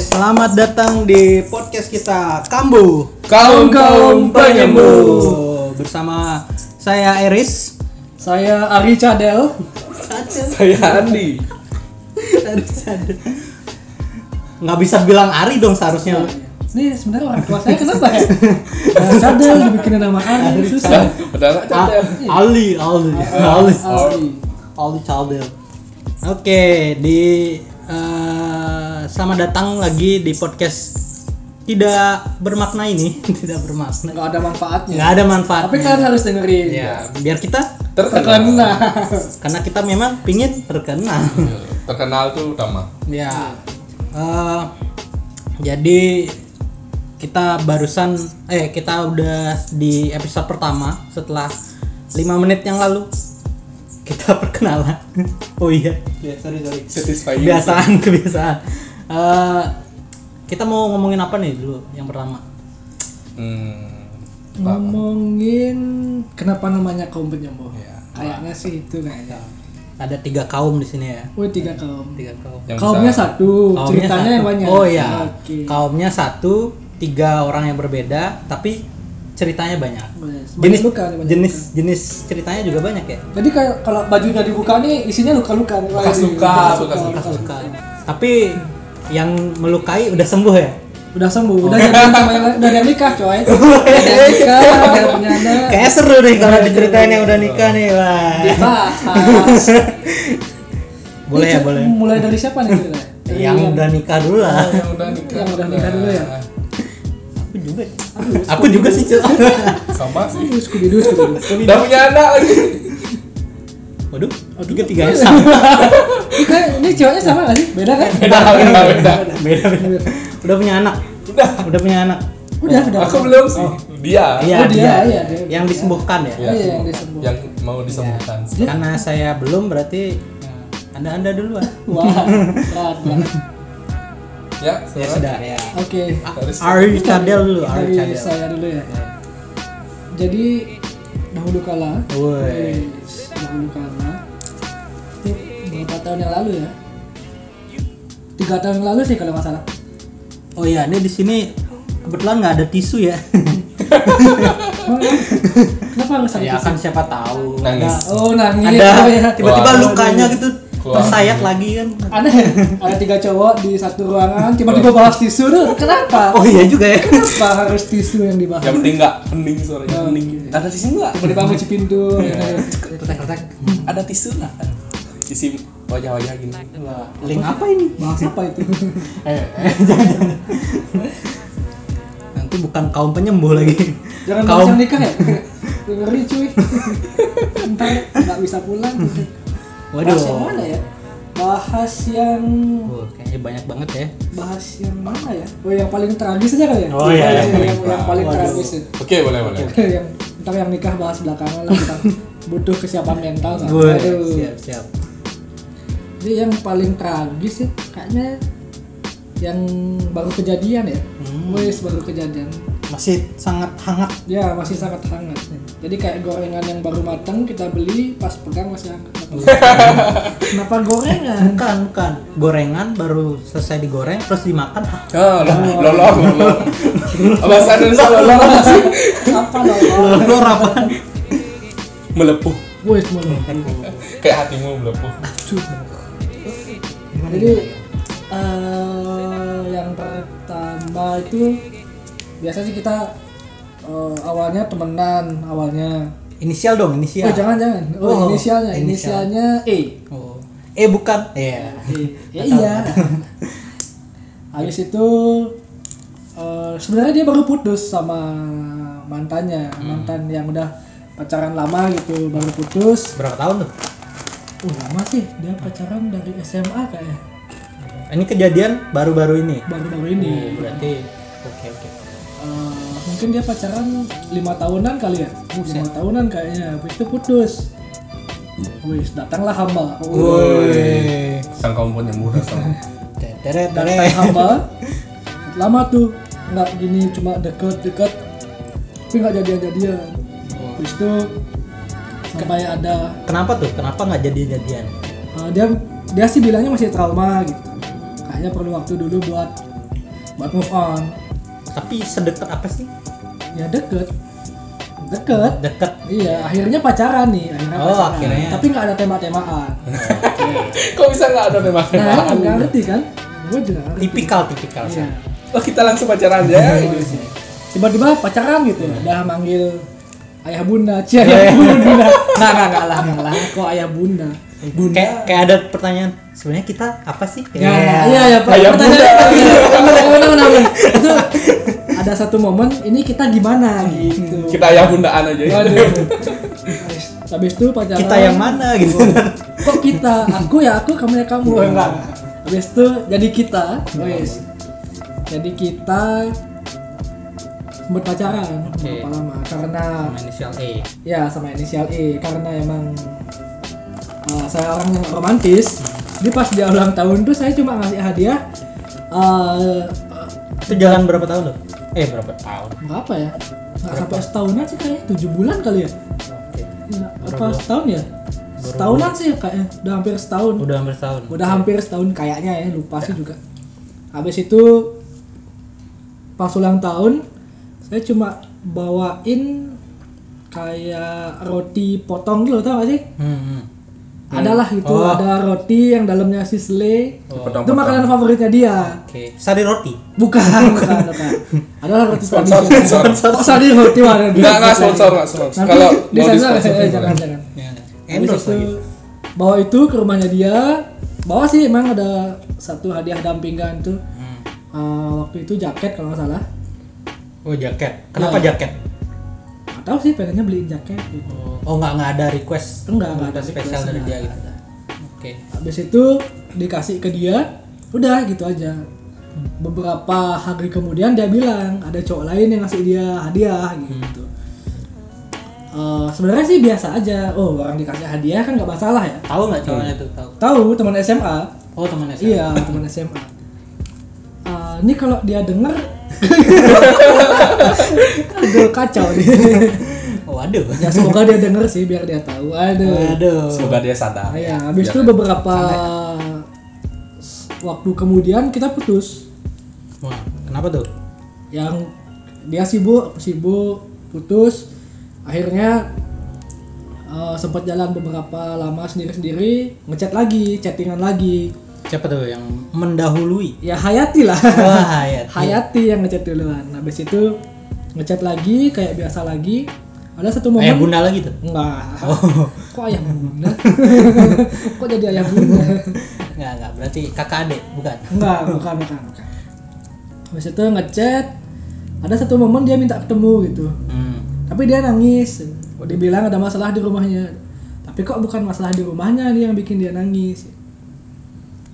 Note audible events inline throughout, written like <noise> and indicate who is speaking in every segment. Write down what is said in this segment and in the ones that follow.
Speaker 1: Selamat datang di podcast kita Kambu
Speaker 2: Kaum-kaum penyembuh.
Speaker 1: Bersama saya Eris
Speaker 2: Saya Ari Cadel. Saya Andi.
Speaker 1: Nggak bisa bilang Ari dong seharusnya
Speaker 3: Ini sebenarnya orang tua saya kenapa ya? Nah, Cadel dibikinin nama Ari susah.
Speaker 2: Udah nggak
Speaker 1: A-
Speaker 2: cadel.
Speaker 1: Ali, Ali, Ali,
Speaker 3: Ari.
Speaker 1: Ali Chaldel Oke, di eh, Selamat datang lagi di podcast Tidak bermakna ini <laughs> Tidak bermakna
Speaker 3: Enggak ada manfaatnya.
Speaker 1: Nggak ada manfaat
Speaker 3: Tapi kan- kalian harus dengerin.
Speaker 1: Iya.
Speaker 2: Ya,
Speaker 1: Biar kita
Speaker 2: terkenal.
Speaker 3: Terkena.
Speaker 1: Iya. Karena kita memang pingin terkenal
Speaker 2: Terkenal tuh utama.
Speaker 1: Ya. Eh, jadi kita barusan eh kita udah di episode pertama setelah 5 menit yang lalu kita <laughs> perkenalan. oh iya. Ya, sorry sorry.
Speaker 2: Satisfying.
Speaker 1: Kebiasaan kebiasaan. Eh, kita mau ngomongin apa nih dulu yang pertama?
Speaker 2: Hmm.
Speaker 3: Ngomongin kenapa namanya kaum penyembuh.
Speaker 1: Iya.
Speaker 2: Ya.
Speaker 3: Kayaknya sih itu kayaknya.
Speaker 1: Ada tiga kaum di sini ya.
Speaker 3: Wih tiga kaum.
Speaker 1: Tiga kaum.
Speaker 2: Yang
Speaker 3: Kaumnya
Speaker 2: besar.
Speaker 3: satu,
Speaker 1: Kaumnya
Speaker 3: ceritanya
Speaker 1: satu.
Speaker 3: yang banyak.
Speaker 1: Oh iya.
Speaker 3: Oke.
Speaker 1: Kaumnya satu, tiga orang yang berbeda tapi ceritanya banyak.
Speaker 3: Jenis
Speaker 1: jenis
Speaker 3: luka nih, banyak
Speaker 1: jenis
Speaker 3: luka.
Speaker 1: jenis ceritanya juga banyak ya
Speaker 3: Jadi kayak kalau bajunya dibuka nih isinya luka-luka. nih.
Speaker 2: Bekas
Speaker 3: Wah,
Speaker 2: luka,
Speaker 3: bekas
Speaker 2: bekas
Speaker 3: luka,
Speaker 2: luka.
Speaker 3: bekas luka.
Speaker 1: tapi yang melukai udah sembuh ya
Speaker 3: Udah sembuh, udah jadi sama yang udah ada yang nikah, coy. Udah ada yang nikah, udah ada punya anak.
Speaker 1: kayak seru nih kalau diceritain yang udah nikah nih wah
Speaker 3: Iya, Dibahas.
Speaker 1: boleh
Speaker 3: Ini
Speaker 1: ya
Speaker 3: cer-
Speaker 1: boleh
Speaker 3: Mulai dari siapa nih cerita?
Speaker 1: yang udah nikah dulu lah
Speaker 2: Yang udah nikah. Nah,
Speaker 3: Yang udah nikah dulu ya?
Speaker 1: aku juga aku juga sih cuy
Speaker 2: Sama sih.
Speaker 3: Terus Scooby-Doo, Scooby-Doo.
Speaker 2: Udah punya anak lagi.
Speaker 1: waduh tiga tiganya sama
Speaker 3: Ini kayak- Ini ceweknya sama gak sih? Beda kan?
Speaker 2: Beda, beda, beda.
Speaker 1: beda beda udah punya anak
Speaker 2: Udah.
Speaker 1: udah punya anak
Speaker 3: Udah, udah.
Speaker 2: Aku belum sih. Dia.
Speaker 1: iya dia
Speaker 3: dia, iya, dia.
Speaker 1: yang disembuhkan ya
Speaker 2: Oh. Iya.
Speaker 3: Iya, yang disembuh.
Speaker 2: Yang Iya. mau disembuhkan.
Speaker 1: karena saya belum berarti eh, anda anda duluan
Speaker 3: Wah, berat banget.
Speaker 2: Ya,
Speaker 1: ya
Speaker 2: sudah.
Speaker 1: sudah ya
Speaker 3: Oke.
Speaker 2: Terus
Speaker 1: Ari Cadel dulu Ari
Speaker 3: Dari
Speaker 1: Cadel
Speaker 3: saya dulu ya. Jadi dahulu kala,
Speaker 1: Woi.
Speaker 3: wis, dahulu kala, itu berapa tahun yang lalu ya? Tiga tahun yang lalu sih kalau nggak salah.
Speaker 1: Oh iya, ini di sini kebetulan nggak ada tisu ya.
Speaker 3: Emang- Kenapa nggak salah?
Speaker 1: ya kan siapa tahu.
Speaker 2: Nangis.
Speaker 3: Oh nangis.
Speaker 1: Ada
Speaker 3: Oh, ya.
Speaker 1: ada tiba-tiba
Speaker 2: Keluar.
Speaker 1: lukanya gitu
Speaker 2: Keluar.
Speaker 1: tersayat lagi kan.
Speaker 3: iya, aneh ya? ada tiga cowok di satu ruangan tiba-tiba bahas tisu tuh kenapa
Speaker 1: Oh iya juga ya.
Speaker 3: kenapa harus tisu yang dibahas
Speaker 2: Yang penting enggak hening suaranya. Hening. Ada tisu enggak?
Speaker 3: tiba-tiba kunci pintu
Speaker 1: Iya. Ketek-ketek.
Speaker 2: Ada tisu enggak? Isi wajah-wajah gini.
Speaker 1: Link apa ini?
Speaker 3: bahas apa itu
Speaker 1: <laughs> Nanti bukan kaum penyembuh lagi.
Speaker 3: jangan bahas
Speaker 1: kaum
Speaker 3: yang nikah ya ngeri cuy ntar nggak bisa pulang
Speaker 1: Waduh.
Speaker 3: bahas yang mana ya bahas yang
Speaker 1: Oh, kayaknya banyak banget ya.
Speaker 3: bahas yang mana ya oh yang paling tragis aja kali ya
Speaker 1: Oh, iya,
Speaker 3: yang,
Speaker 1: iya.
Speaker 3: yang, yang paling tragis ya.
Speaker 2: Oke, boleh, boleh.
Speaker 3: <laughs> yang ntar yang nikah bahas belakangan lah <laughs> kita butuh kesiapan mental sama.
Speaker 1: Woi,
Speaker 3: Aduh.
Speaker 1: siap-siap.
Speaker 3: Jadi yang paling tragis ya kayaknya yang baru kejadian ya. Wes baru kejadian.
Speaker 1: Masih sangat hangat.
Speaker 3: Ya masih sangat hangat. Jadi kayak gorengan yang baru matang kita beli pas pegang masih hangat. <laughs> Kenapa gorengan?
Speaker 1: Bukan, bukan. Gorengan baru selesai digoreng terus dimakan. Hah,
Speaker 2: Ah, lo- lolong, lolong. Bahasa Indonesia lolong apa sih?
Speaker 3: Apa loh?
Speaker 1: Telur apa? <laughs>
Speaker 2: Melepuh.
Speaker 3: Wes malu.
Speaker 2: Kayak hatimu melepuh.
Speaker 3: Jadi eh, yang pertama itu biasa sih kita eh, awalnya temenan awalnya.
Speaker 1: Inisial dong,
Speaker 3: Oh
Speaker 1: inisial.
Speaker 3: jangan jangan.
Speaker 1: Oh,
Speaker 3: Oh, inisialnya
Speaker 1: inisial.
Speaker 3: inisialnya E.
Speaker 1: Oh. Eh bukan. Iya.
Speaker 3: Ya, iya.
Speaker 1: <laughs>
Speaker 3: Habis itu eh, sebenarnya dia baru putus sama mantannya,
Speaker 1: Hmm.
Speaker 3: mantan yang udah pacaran lama gitu, baru putus.
Speaker 1: Berapa tahun tuh?
Speaker 3: Uh, lama sih dia pacaran dari SMA kayaknya.
Speaker 1: Ini kejadian baru-baru ini. Iya,
Speaker 3: Baru-baru ini.
Speaker 1: Berarti oke oke.
Speaker 3: Eh, mungkin dia pacaran lima tahunan kali ya. Uh, lima tahunan kayaknya. Habis itu putus. Wis, datanglah hamba. Uh,
Speaker 1: Woi.
Speaker 2: Sang kaum pun yang murah sama.
Speaker 1: Teret
Speaker 3: datang hamba. <laughs> Lama tuh nggak gini cuma deket-deket tapi nggak jadian-jadian.
Speaker 1: Oh.
Speaker 3: Habis itu kayak ada
Speaker 1: Kenapa tuh? Kenapa nggak jadi jadian?
Speaker 3: eh, dia dia sih bilangnya masih trauma gitu. Kayaknya perlu waktu dulu buat buat move on
Speaker 1: Tapi sedekat apa sih?
Speaker 3: ya deket deket
Speaker 1: Deket.
Speaker 3: iya akhirnya pacaran nih akhirnya
Speaker 1: Oh,
Speaker 3: pacaran
Speaker 1: akhirnya.
Speaker 3: tapi nggak ada
Speaker 1: <laughs>
Speaker 3: tema-temaan
Speaker 2: Kok bisa nggak ada tema
Speaker 3: nah
Speaker 2: temaan?
Speaker 3: nggak ngerti kan gue juga nggak ngerti.
Speaker 1: Tipikal tipikal
Speaker 3: Iya.
Speaker 1: sih.
Speaker 2: Oh kita langsung pacaran aja. gitu.
Speaker 3: tiba-tiba pacaran gitu udah manggil ayah bunda cia
Speaker 2: Iya,
Speaker 3: ayah bunda nggak nggak nggak lah nggak lah kok ayah bunda bunda
Speaker 1: Kayak kayak ada pertanyaan. Sebenarnya kita apa sih?
Speaker 3: Ya,
Speaker 1: Iya.
Speaker 3: iya, iya, Pak.
Speaker 2: Ayah
Speaker 3: Pertanyaan- Iya.
Speaker 2: Bunda.
Speaker 3: Bener, bener, bener, bener. Itu ada satu momen ini kita gimana gitu.
Speaker 2: Kita ayah bundaan aja. ya.
Speaker 3: Waduh. Habis itu pacaran.
Speaker 1: Kita yang mana gitu.
Speaker 3: Kok kita? Aku ya aku, kamu ya kamu.
Speaker 1: Oh, enggak. Oh, iya.
Speaker 3: Habis itu jadi kita. Wes. Jadi kita sempat pacaran
Speaker 1: Oke.
Speaker 3: berapa lama? Karena
Speaker 1: Inisial E. A.
Speaker 3: ya sama inisial E karena emang uh, saya orang yang romantis. Jadi pas dia ulang tahun tuh saya cuma ngasih hadiah eh
Speaker 1: Itu jalan berapa tahun loh? Eh berapa tahun?
Speaker 3: berapa ya? Nggak sampai setahunan sih kayaknya, tujuh bulan kali ya?
Speaker 1: Oke.
Speaker 3: Ya, apa
Speaker 1: Baru-
Speaker 3: setahun ya? Setahunan sih kayaknya, udah hampir setahun. Udah,
Speaker 1: Udah hampir setahun.
Speaker 3: hampir setahun kayaknya ya, lupa sih juga. Habis itu pas ulang tahun, saya cuma bawain kayak roti potong gitu, tau gak sih?
Speaker 1: Hmm, hmm.
Speaker 3: Adalah gitu,
Speaker 1: Oh.
Speaker 3: ada roti yang dalamnya sisle. Itu
Speaker 2: Potong-potong.
Speaker 3: makanan favoritnya dia.
Speaker 1: Oke. Sari roti.
Speaker 3: Bukan, bukan, bukan. Adalah roti
Speaker 2: Sponsor, sponsor.
Speaker 3: Kok sadar roti mana?
Speaker 2: Nggak nggak sponsor nggak sponsor.
Speaker 3: Nanti
Speaker 2: Kalau
Speaker 3: di
Speaker 2: mau di
Speaker 3: sana
Speaker 2: sponsor
Speaker 3: eh,
Speaker 2: juga.
Speaker 3: jangan jangan.
Speaker 1: Ya.
Speaker 3: Habis
Speaker 1: Endorse
Speaker 3: itu,
Speaker 1: lagi.
Speaker 3: bawa itu ke rumahnya dia. Bawa sih emang ada satu hadiah dampingan tuh.
Speaker 1: Hmm.
Speaker 3: Eh, waktu itu jaket kalau nggak salah.
Speaker 1: Oh jaket. Kenapa
Speaker 3: Ya.
Speaker 1: jaket?
Speaker 3: Nggak tahu sih pengennya beliin jaket gitu.
Speaker 1: Oh nggak nggak ada request.
Speaker 3: Enggak, enggak ada
Speaker 1: spesial
Speaker 3: request,
Speaker 1: dari
Speaker 3: enggak
Speaker 1: dia
Speaker 3: ada.
Speaker 1: gitu. Oke.
Speaker 3: Habis itu dikasih ke dia, udah gitu aja. Beberapa hari kemudian dia bilang ada cowok lain yang ngasih dia hadiah gitu. Eh, Sebenarnya sih biasa aja. Oh orang dikasih hadiah kan nggak masalah ya.
Speaker 1: Tahu nggak cowoknya tuh tahu?
Speaker 3: Tahu teman SMA
Speaker 1: Oh temannya saya.
Speaker 3: Iya, teman SMA. Ah, ini kalau dia denger aduh kacau nih.
Speaker 1: Oh <laughs> waduh.
Speaker 3: ya semoga dia denger sih biar dia tahu. Aduh.
Speaker 1: Waduh.
Speaker 2: Semoga dia sadar.
Speaker 3: Nah, ya, habis itu beberapa s- waktu kemudian kita putus.
Speaker 1: Wah, kenapa tuh?
Speaker 3: Yang dia sibuk, aku sibuk, putus. Akhirnya eh, sempat jalan beberapa lama sendiri-sendiri, ngechat lagi, chattingan lagi.
Speaker 1: Siapa tuh yang mendahului?
Speaker 3: Ya Hayati lah.
Speaker 1: <laughs> Wah, ya.
Speaker 3: Hayati yang ngechat duluan. Habis itu ngechat lagi kayak biasa lagi. Ada satu
Speaker 1: Eh,
Speaker 3: momen
Speaker 1: bunda lagi tuh.
Speaker 3: enggak.
Speaker 1: Oh,
Speaker 3: Kok ayah bunda? <laughs> Kok jadi ayah bunda?
Speaker 1: <laughs> nggak nggak berarti kakak adik bukan?
Speaker 3: Enggak, bukan, bukan, bukan. Habis itu ngechat ada satu momen dia minta ketemu gitu.
Speaker 1: Hmm.
Speaker 3: Tapi dia nangis. Dibilang ada masalah di rumahnya. Tapi kok bukan masalah di rumahnya nih yang bikin dia nangis.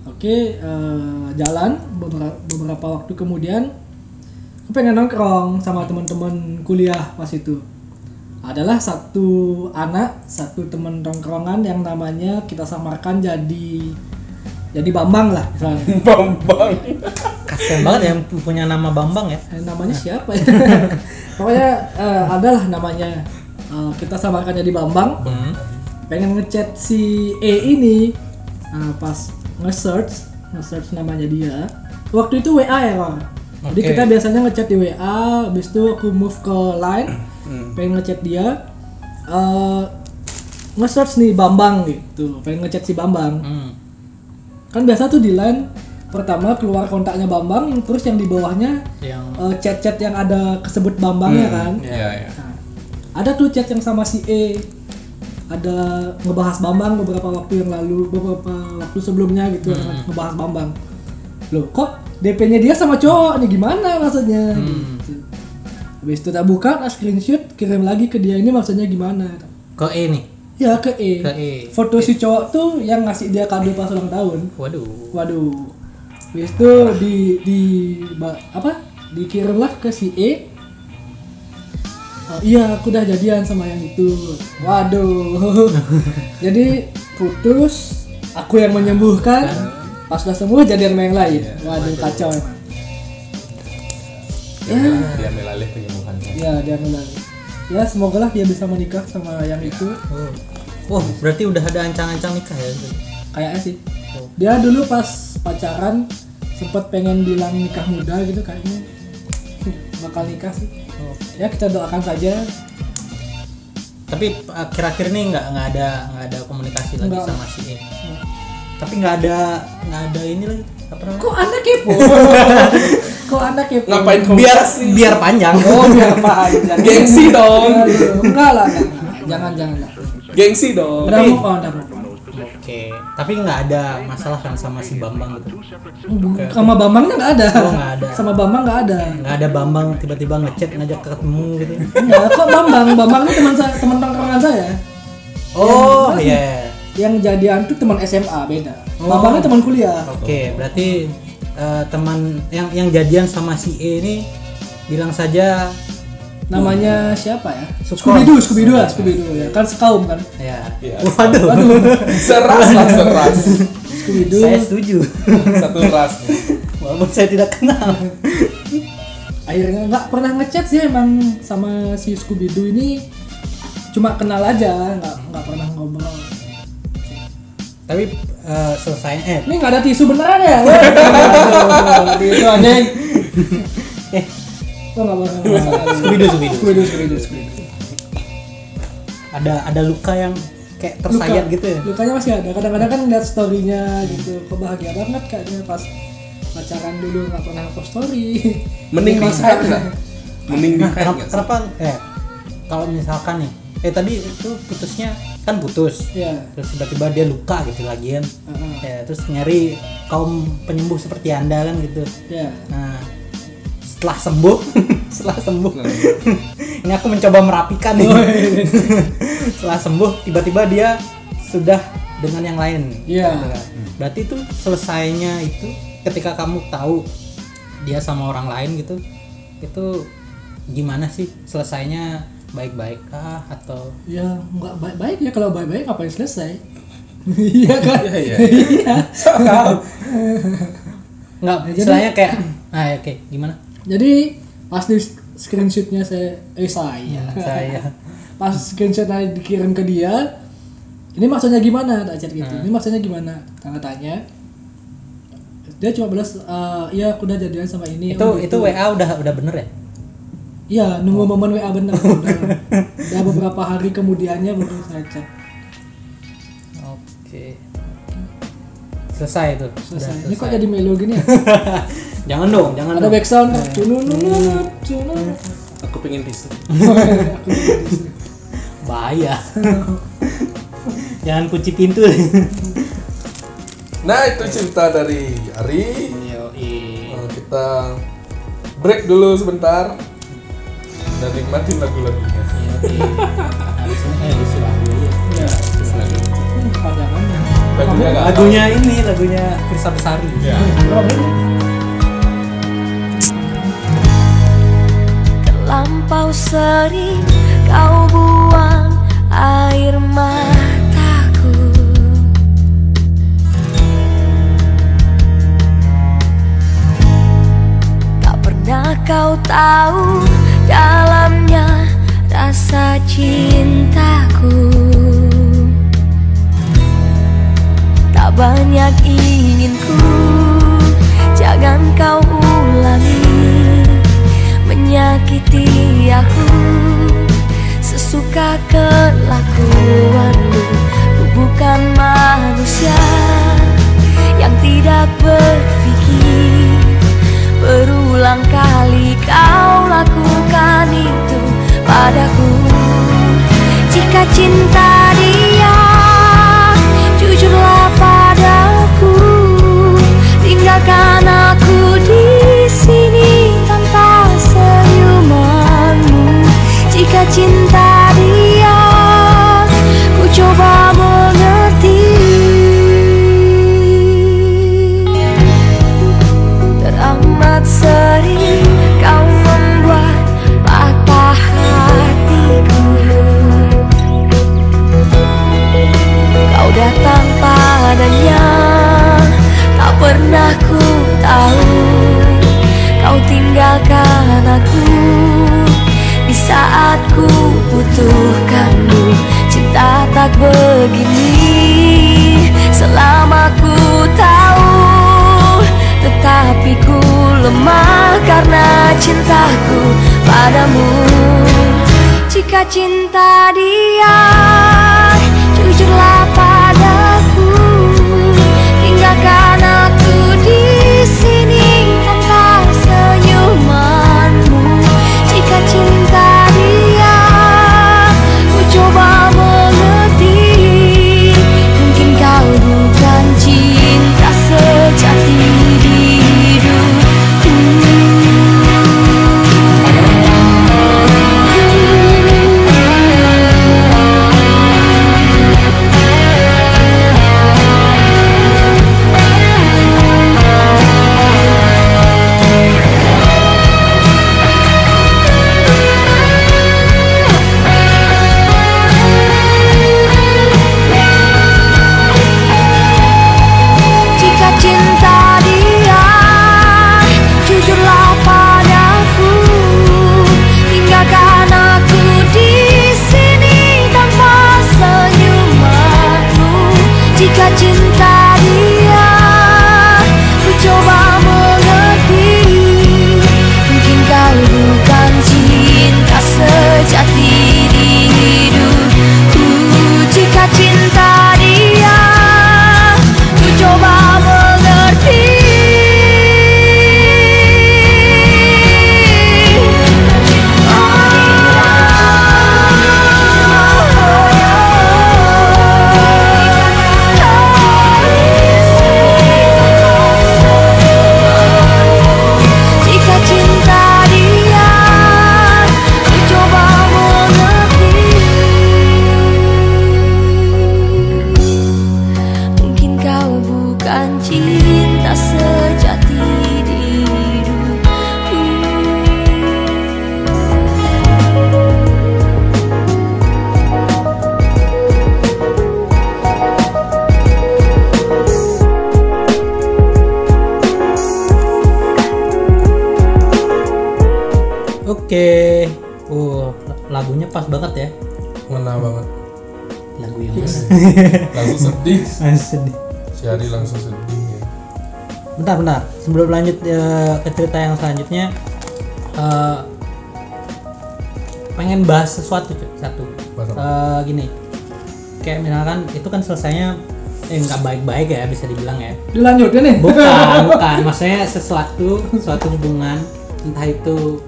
Speaker 3: Oke, eh, jalan beberapa, beberapa waktu kemudian aku pengen nongkrong sama teman-teman kuliah pas itu. Adalah satu anak, satu teman nongkrongan yang namanya kita samarkan jadi jadi Bambang lah misalnya.
Speaker 2: Bambang.
Speaker 1: Kasian banget yang punya nama Bambang ya.
Speaker 3: Eh, namanya siapa ya? <laughs> Pokoknya eh, adalah namanya Eh, kita samarkan jadi Bambang.
Speaker 1: Hmm.
Speaker 3: Pengen ngechat si E ini Nah, pas nge-search, nge-search namanya dia. Waktu itu WA ya, Bang. Jadi
Speaker 1: Oke.
Speaker 3: kita biasanya ngechat di WA, habis itu aku move ke LINE,
Speaker 1: Hmm.
Speaker 3: pengen ngechat dia. Eh, nge-search nih Bambang gitu, pengen ngechat si Bambang
Speaker 1: Hmm.
Speaker 3: kan biasa tuh di line pertama keluar kontaknya Bambang terus yang di bawahnya
Speaker 1: Yang
Speaker 3: eh, chat-chat yang ada kesebut Bambangnya
Speaker 1: Hmm,
Speaker 3: kan
Speaker 2: Iya iya.
Speaker 3: Nah, ada tuh chat yang sama si E ada ngebahas Bambang beberapa waktu yang lalu beberapa waktu sebelumnya
Speaker 1: Hmm.
Speaker 3: gitu ngebahas Bambang loh kok DP-nya dia sama cowok nih gimana maksudnya
Speaker 1: Hmm.
Speaker 3: gitu. habis itu tak buka tak screenshot kirim lagi ke dia ini maksudnya gimana
Speaker 1: ke E nih.
Speaker 3: ya ke E,
Speaker 1: Ke E.
Speaker 3: foto si cowok tuh yang ngasih dia kado pas ulang tahun
Speaker 1: Waduh.
Speaker 3: Waduh. Habis itu di di ba- apa? Dikirimlah ke si E. Oh, iya, aku udah jadian sama yang itu. Waduh. Jadi putus, aku yang menyembuhkan. Pas udah sembuh jadian sama yang lain. Waduh, kacau emang.
Speaker 2: Ya, Dia ambil alih penyembuhannya.
Speaker 3: Ya, dia melalui. Ya, semoga lah dia bisa menikah sama yang itu.
Speaker 1: Oh. Wah, berarti udah ada ancang-ancang nikah ya.
Speaker 3: Kayaknya sih. Dia dulu pas pacaran sempat pengen bilang nikah muda gitu kayaknya bakal nikah sih
Speaker 1: Oh.
Speaker 3: ya kita doakan saja
Speaker 1: Tapi akhir-akhir ini nggak nggak ada nggak ada komunikasi lagi
Speaker 3: Nggak.
Speaker 1: sama si E. Tapi nggak ada nggak ada ini lagi apa namanya?
Speaker 3: kok anda
Speaker 1: <laughs>
Speaker 3: kepo kok anda kepo
Speaker 2: Ngapain kamu?
Speaker 1: Biar biar panjang.
Speaker 3: oh biar panjang
Speaker 2: Gengsi dong.
Speaker 3: Aduh, enggak lah enggak, enggak. jangan jangan lah.
Speaker 2: Gengsi dong.
Speaker 3: udah move on udah move on
Speaker 1: Oke. Tapi nggak ada masalah kan sama si Bambang gitu.
Speaker 3: Bukan. sama Bambangnya nggak ada.
Speaker 1: Oh, nggak ada.
Speaker 3: sama Bambang nggak ada
Speaker 1: Nggak ada Bambang tiba-tiba ngechat ngajak ketemu gitu.
Speaker 3: Enggak, kok Bambang? Bambang ini teman saya, teman tongkrongan saya.
Speaker 1: Oh iya.
Speaker 3: Yang jadian tuh teman SMA beda.
Speaker 1: Oh.
Speaker 3: Bambangnya teman kuliah.
Speaker 1: Oke, berarti eh, teman yang yang jadian sama si E ini bilang saja
Speaker 3: Namanya siapa ya?
Speaker 1: Sukon.
Speaker 3: Scooby Doo, Scooby Doo, lah, Scooby Doo ya. Kan sekaum kan.
Speaker 1: ya.
Speaker 2: Iya.
Speaker 1: Waduh.
Speaker 2: Seras lah seras.
Speaker 3: Scooby Doo.
Speaker 1: <laughs> saya setuju.
Speaker 2: Satu ras. nih.
Speaker 1: Walaupun saya tidak kenal.
Speaker 3: Akhirnya nggak pernah ngechat sih emang sama si Scooby Doo ini. Cuma kenal aja, nggak nggak pernah ngobrol.
Speaker 1: Tapi eh, selesai eh
Speaker 3: Ini nggak ada tisu beneran ya? <laughs> Wah, aduh, Tisu anjing.
Speaker 1: eh
Speaker 3: Tuh nggak bakal masalah.
Speaker 1: Scooby Doo, Scooby Doo.
Speaker 3: Scooby Doo, Scooby Doo, Scooby Doo.
Speaker 1: ada ada luka yang kayak tersayat gitu ya.
Speaker 3: lukanya masih ada kadang-kadang kan lihat storynya gitu kebahagia banget kayaknya pas pacaran dulu nggak pernah post story <laughs>
Speaker 2: Mending di
Speaker 3: Masalah.
Speaker 2: hide nggak? Mending di
Speaker 1: Nah,
Speaker 2: hide
Speaker 1: kenapa,
Speaker 2: nggak?
Speaker 1: kenapa eh kalau misalkan nih eh tadi itu putusnya kan putus
Speaker 3: ya
Speaker 1: terus tiba-tiba dia luka gitu lagian
Speaker 3: heeh.
Speaker 1: ya terus nyari kaum penyembuh seperti anda kan gitu
Speaker 3: ya
Speaker 1: Nah, setelah sembuh, <laughs> setelah sembuh, <laughs> ini aku mencoba merapikan nih.
Speaker 3: Oh, iya,
Speaker 1: <laughs> setelah sembuh, tiba-tiba dia sudah dengan yang lain.
Speaker 3: Iya.
Speaker 1: Gitu kan. Berarti itu selesainya itu ketika kamu tahu dia sama orang lain gitu, itu gimana sih selesainya baik-baik kah atau
Speaker 3: ya nggak baik-baik ya kalau baik-baik ngapain selesai <laughs> iya kan
Speaker 2: Iya, iya.
Speaker 3: iya
Speaker 2: <laughs>
Speaker 1: nggak?
Speaker 3: Ya, jadi-
Speaker 1: Istilahnya kayak, <clears throat> ah ya, oke, gimana?
Speaker 3: jadi pas di screenshotnya saya eh saya
Speaker 1: Hmm, Saya
Speaker 3: <laughs> pas screenshotnya dikirim ke dia ini maksudnya gimana tak chat gitu
Speaker 1: Hmm.
Speaker 3: ini maksudnya gimana tanda tanya dia cuma balas "Eh, iya aku udah jadian sama ini
Speaker 1: itu
Speaker 3: oh
Speaker 1: itu Oh.
Speaker 3: gitu."
Speaker 1: WA udah udah bener ya?
Speaker 3: iya nunggu momen WA
Speaker 1: <laughs>
Speaker 3: bener udah, udah beberapa hari kemudiannya baru saya chat
Speaker 1: Oke. Selesai itu.
Speaker 3: selesai ini kok jadi melo
Speaker 1: <laughs>
Speaker 3: gini ya
Speaker 1: jangan dong, jangan
Speaker 3: ada
Speaker 1: dong.
Speaker 3: backsound
Speaker 1: Iya.
Speaker 3: tununununun, tunun.
Speaker 2: Aku pengen tisu.
Speaker 1: Bahaya. <laughs> jangan kunci pintu. <laughs>
Speaker 2: Nah itu cerita dari Ari.
Speaker 1: Yoi.
Speaker 2: Nah, kita break dulu sebentar dan nikmatin lagu-lagunya.
Speaker 1: Habis ini kayak disuruh aku aja.
Speaker 2: Ya, lagu.
Speaker 3: Hmm, panjangannya
Speaker 2: Lagunya nggak tahu.
Speaker 1: Lagunya ini, lagunya Firsa Besari.
Speaker 2: Ya.
Speaker 3: Berapa menit?
Speaker 4: Terlampau sering kau buang air mataku Tak pernah kau tahu dalamnya rasa cintaku Tak banyak inginku Jangan kau ulangi Menyakiti aku Sesuka kelakuanmu Ku bukan manusia Yang tidak berpikir Berulang kali kau lakukan itu padaku Jika cinta dia Jujurlah padaku, tinggalkan aku di sini tanpa senyumanmu. Jika cinta dia, ku coba mengerti. Teramat sering kau membuat patah hatiku. Kau datang padanya Tak pernah ku tahu Kau tinggalkan aku Di saat ku butuhkanmu Cinta tak begini Selama ku tahu Tetap lemah karena cintaku padamu Jika cinta dia jujurlah padaku Tinggalkan aku di sini tanpa senyumanmu Jika cinta dia ku coba mengerti Mungkin kau bukan cinta sejati di hidupku Jika cinta dia Jujurlah padaku Tinggalkan aku di sini Tanpa senyumanmu Jika cinta dia Ku coba mengerti Mungkin kau bukan cinta sejati di hidupku Jika cinta dia Ku coba mengerti 아, 아. Jika cinta dia Ku coba mengerti Mungkin kau bukan cinta sejati di hidupku
Speaker 1: Oke. Uh, lagunya pas banget ya.
Speaker 2: Ngena banget.
Speaker 1: Lagu yang mana?
Speaker 2: Langsung sedih.
Speaker 1: Ah, Sedih.
Speaker 2: Syari langsung sedih ya.
Speaker 1: Bentar, bentar. Sebelum lanjut eh, ke cerita yang selanjutnya eh, pengen bahas sesuatu cuy, satu.
Speaker 2: Bahas apa?
Speaker 1: Eh, gini. Kayak misalkan itu kan selesainya eh nggak baik-baik ya bisa dibilang ya.
Speaker 3: Dilanjutin nih.
Speaker 1: <laughs> bukan bukan maksudnya sesuatu suatu hubungan entah itu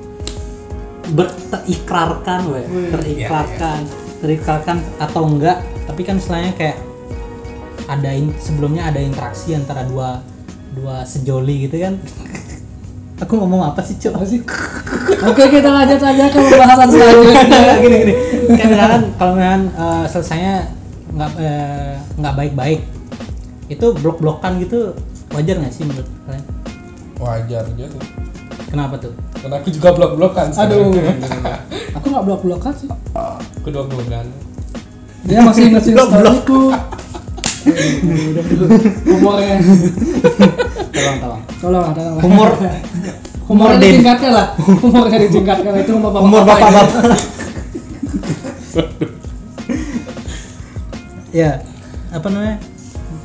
Speaker 1: ber, terikrarkan weh terikrarkan terikrarkan atau enggak tapi kan istilahnya kayak ada in- sebelumnya ada interaksi antara dua dua sejoli gitu <laughs> kan aku ngomong apa sih cok
Speaker 3: Oke kita lanjut aja ke
Speaker 1: Ah,
Speaker 3: pembahasan selanjutnya.
Speaker 1: <laughs> gini gini kayak misalkan kalau misalkan eh, selesainya nggak eh, nggak baik-baik itu blok-blokan gitu wajar nggak sih menurut kalian
Speaker 2: Wajar aja tuh.
Speaker 1: kenapa tuh
Speaker 2: Karena aku juga blok-blokan.
Speaker 3: Aduh.
Speaker 2: sebenarnya.
Speaker 3: Aku nggak blok-blokan sih.
Speaker 2: Aku dua bulan.
Speaker 3: Dia masih ingat sih storyku.
Speaker 2: Umurnya.
Speaker 1: tolong tolong
Speaker 3: Tolong, tolong.
Speaker 1: humor
Speaker 3: Humornya
Speaker 1: Den.
Speaker 3: ditingkatkan lah. Humornya ditingkatkan itu humor bapak.
Speaker 1: humor bapak bapak <laughs> ya apa namanya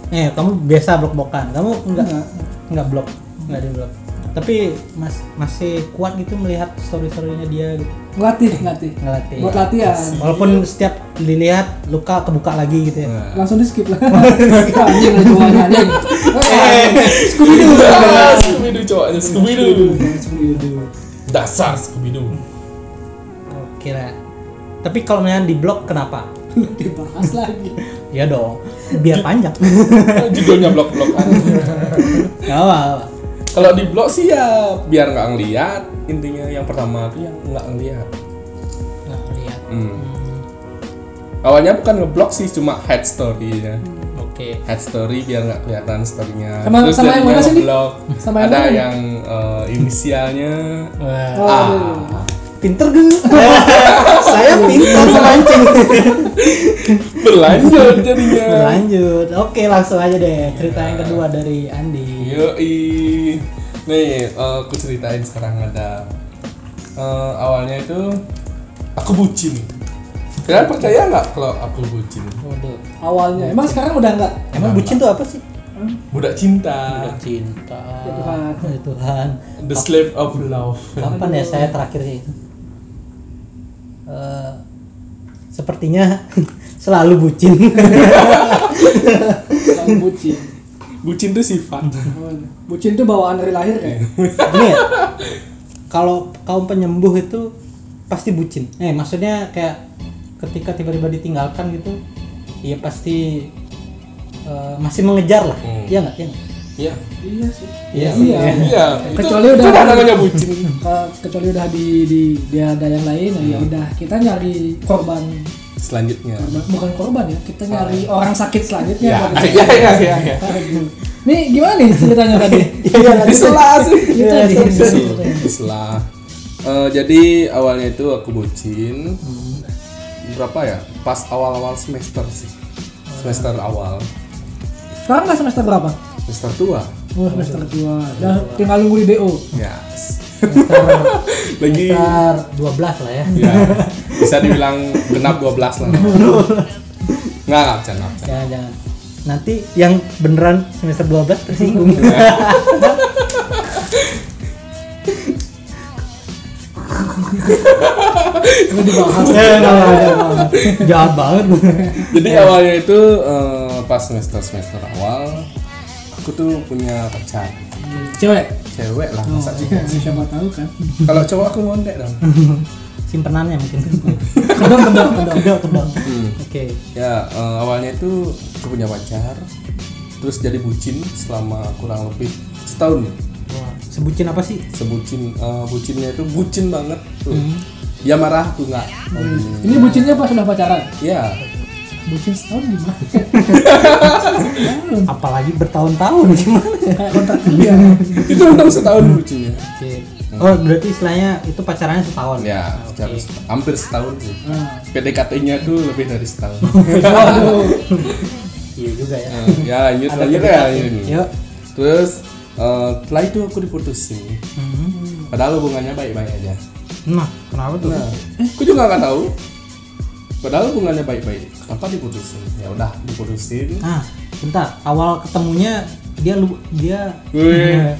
Speaker 1: eh kamu biasa blok blokan kamu enggak
Speaker 3: Enggak.
Speaker 1: enggak blok enggak di blok tapi mas masih kuat gitu melihat story storynya dia gitu
Speaker 3: Ngelatih, ngelatih.
Speaker 1: ngelatih
Speaker 3: Buat latihan.
Speaker 1: walaupun setiap dilihat luka kebuka lagi gitu ya
Speaker 2: Nah.
Speaker 3: Langsung di skip
Speaker 1: <laughs>
Speaker 3: lah. Anjing lu jualan anjing.
Speaker 2: Ah, <laughs> Scooby-Doo cowoknya Scooby-Doo. Dasar Scooby-Doo.
Speaker 1: oke lah tapi kalau misalnya di blok kenapa
Speaker 3: Dibahas lagi.
Speaker 1: ya dong biar <laughs> panjang
Speaker 2: Kan Judulnya blok-blokan.
Speaker 1: Gak apa-apa.
Speaker 2: Kalau di blok sih ya biar nggak ngeliat. Intinya yang pertama tuh yang nggak ngeliat.
Speaker 1: nggak Nah, lihat
Speaker 2: Hmm. Awalnya bukan ngeblok sih, cuma head story-nya.
Speaker 1: oke
Speaker 2: Head story biar nggak kelihatan story-nya.
Speaker 3: Sama- sama yang
Speaker 2: jadinya
Speaker 3: mana sih, Dik?
Speaker 2: ngeblok.
Speaker 3: Sama yang
Speaker 2: Ada
Speaker 3: mana?
Speaker 2: yang eh, inisialnya
Speaker 1: Wah.
Speaker 3: Oh,
Speaker 2: Ah.
Speaker 1: pinter gue <laughs> saya pinter <laughs> memancing
Speaker 2: berlanjut
Speaker 3: <laughs>
Speaker 2: jadinya.
Speaker 1: lanjut oke langsung aja deh cerita yang kedua dari Andi
Speaker 2: Yoi. Nih, eh, aku ceritain sekarang ada eh, awalnya itu aku bucin. Kalian percaya nggak kalau aku bucin?
Speaker 1: Waduh.
Speaker 3: awalnya. Oh, Emang sekarang udah enggak?
Speaker 1: emang bucin tuh apa sih
Speaker 2: budak cinta
Speaker 1: Udah cinta.
Speaker 3: Ya Tuhan.
Speaker 1: Ya Tuhan.
Speaker 2: the slave of love
Speaker 1: Kapan ya saya terakhirnya itu? Eh, sepertinya <laughs> selalu <laughs> bucin.
Speaker 3: Selalu bucin.
Speaker 2: bucin tuh sifat
Speaker 3: Oh, Bucin tuh bawaan dari lahir ya.
Speaker 1: Ini ya, kalau kaum penyembuh itu pasti bucin. Eh maksudnya kayak ketika tiba-tiba ditinggalkan gitu, ya pasti eh, masih mengejar lah.
Speaker 2: Hmm.
Speaker 1: Iya nggak? Iya nggak?
Speaker 2: iya
Speaker 3: Iya sih.
Speaker 1: Iya.
Speaker 3: Iya.
Speaker 2: iya
Speaker 3: Kecuali
Speaker 2: itu,
Speaker 3: udah-
Speaker 2: itu namanya bucin
Speaker 3: Ke- kecuali udah di di dia ada yang lain ya udah kita nyari korban
Speaker 2: selanjutnya
Speaker 3: korban- bukan korban ya kita nyari orang sakit selanjutnya
Speaker 2: ya
Speaker 3: Bukan-
Speaker 2: iya iya iya iya
Speaker 3: Aduh. nih gimana nih ceritanya <laughs> tadi
Speaker 1: Iya nggak?
Speaker 2: disela sih
Speaker 3: Itu
Speaker 1: Iya,
Speaker 3: di-
Speaker 1: iya,
Speaker 3: di-
Speaker 2: Kesel,
Speaker 3: di-
Speaker 2: kesel. Eh, jadi awalnya itu aku bucin
Speaker 3: Hmm.
Speaker 2: berapa ya? Pas awal-awal semester sih, semester
Speaker 3: Ah.
Speaker 2: awal,
Speaker 3: sekarang udah semester berapa
Speaker 2: semester tua.
Speaker 3: oh, semester dua udah tinggal nunggu di do
Speaker 2: Yes.
Speaker 1: Semester,
Speaker 2: Lagi,
Speaker 1: semester 12 lah ya.
Speaker 2: ya bisa dibilang genap 12 lah. Nggak nggak bercanda. bercanda.
Speaker 1: Jangan jangan. Nanti yang beneran semester 12 tersinggung.
Speaker 3: ini dibahas
Speaker 1: Jahat banget.
Speaker 2: Jadi
Speaker 3: Iya.
Speaker 2: awalnya itu eh, pas semester semester awal, aku tuh punya pacar,
Speaker 3: cewek
Speaker 2: cewek lah
Speaker 3: oh,
Speaker 2: masa sih?
Speaker 3: iya, siapa tahu kan
Speaker 2: Kalau cowok aku ngondek dong.
Speaker 1: Simpenannya <laughs> mungkin.
Speaker 3: kedong kedong kedong
Speaker 1: Kedok kedok.
Speaker 2: Hmm.
Speaker 1: Oke.
Speaker 2: Ya, eh, awalnya itu aku punya pacar, terus jadi bucin selama kurang lebih setahun. ya.
Speaker 1: Wah, Sebutin apa sih?
Speaker 2: Sebucin, eh, bucinnya itu bucin banget tuh.
Speaker 1: Hmm.
Speaker 2: Dia marah aku nggak. Hmm.
Speaker 3: ini bucinnya pas sudah pacaran
Speaker 2: Ya,
Speaker 3: bucin setahun gimana
Speaker 1: Hmm. Apalagi bertahun-tahun <laughs> gimana?
Speaker 3: kayak kontrak kerja
Speaker 2: itu udah setahun bucinnya.
Speaker 1: Oke. Oh berarti istilahnya itu pacarannya setahun.
Speaker 2: Ya,
Speaker 1: Ah,
Speaker 2: secara-
Speaker 1: oke.
Speaker 2: hampir setahun sih.
Speaker 1: Hmm.
Speaker 3: nah,
Speaker 2: PDKT-nya tuh lebih dari
Speaker 1: <laughs>
Speaker 2: setahun.
Speaker 3: waduh
Speaker 1: Iya juga ya.
Speaker 2: Eh, ya, lanjut
Speaker 1: Ada
Speaker 2: lanjut ya.
Speaker 1: PDKT.
Speaker 2: ini.
Speaker 1: Yuk.
Speaker 2: Terus eh, setelah itu aku diputusin.
Speaker 1: Hmm.
Speaker 2: Padahal hubungannya baik-baik aja.
Speaker 1: Nah, kenapa tuh?
Speaker 2: Nah, aku juga nggak tahu. Padahal hubungannya baik-baik. Kenapa diputusin? Ya udah diputusin.
Speaker 1: Nah, bentar. Awal ketemunya dia lu dia
Speaker 2: Wih.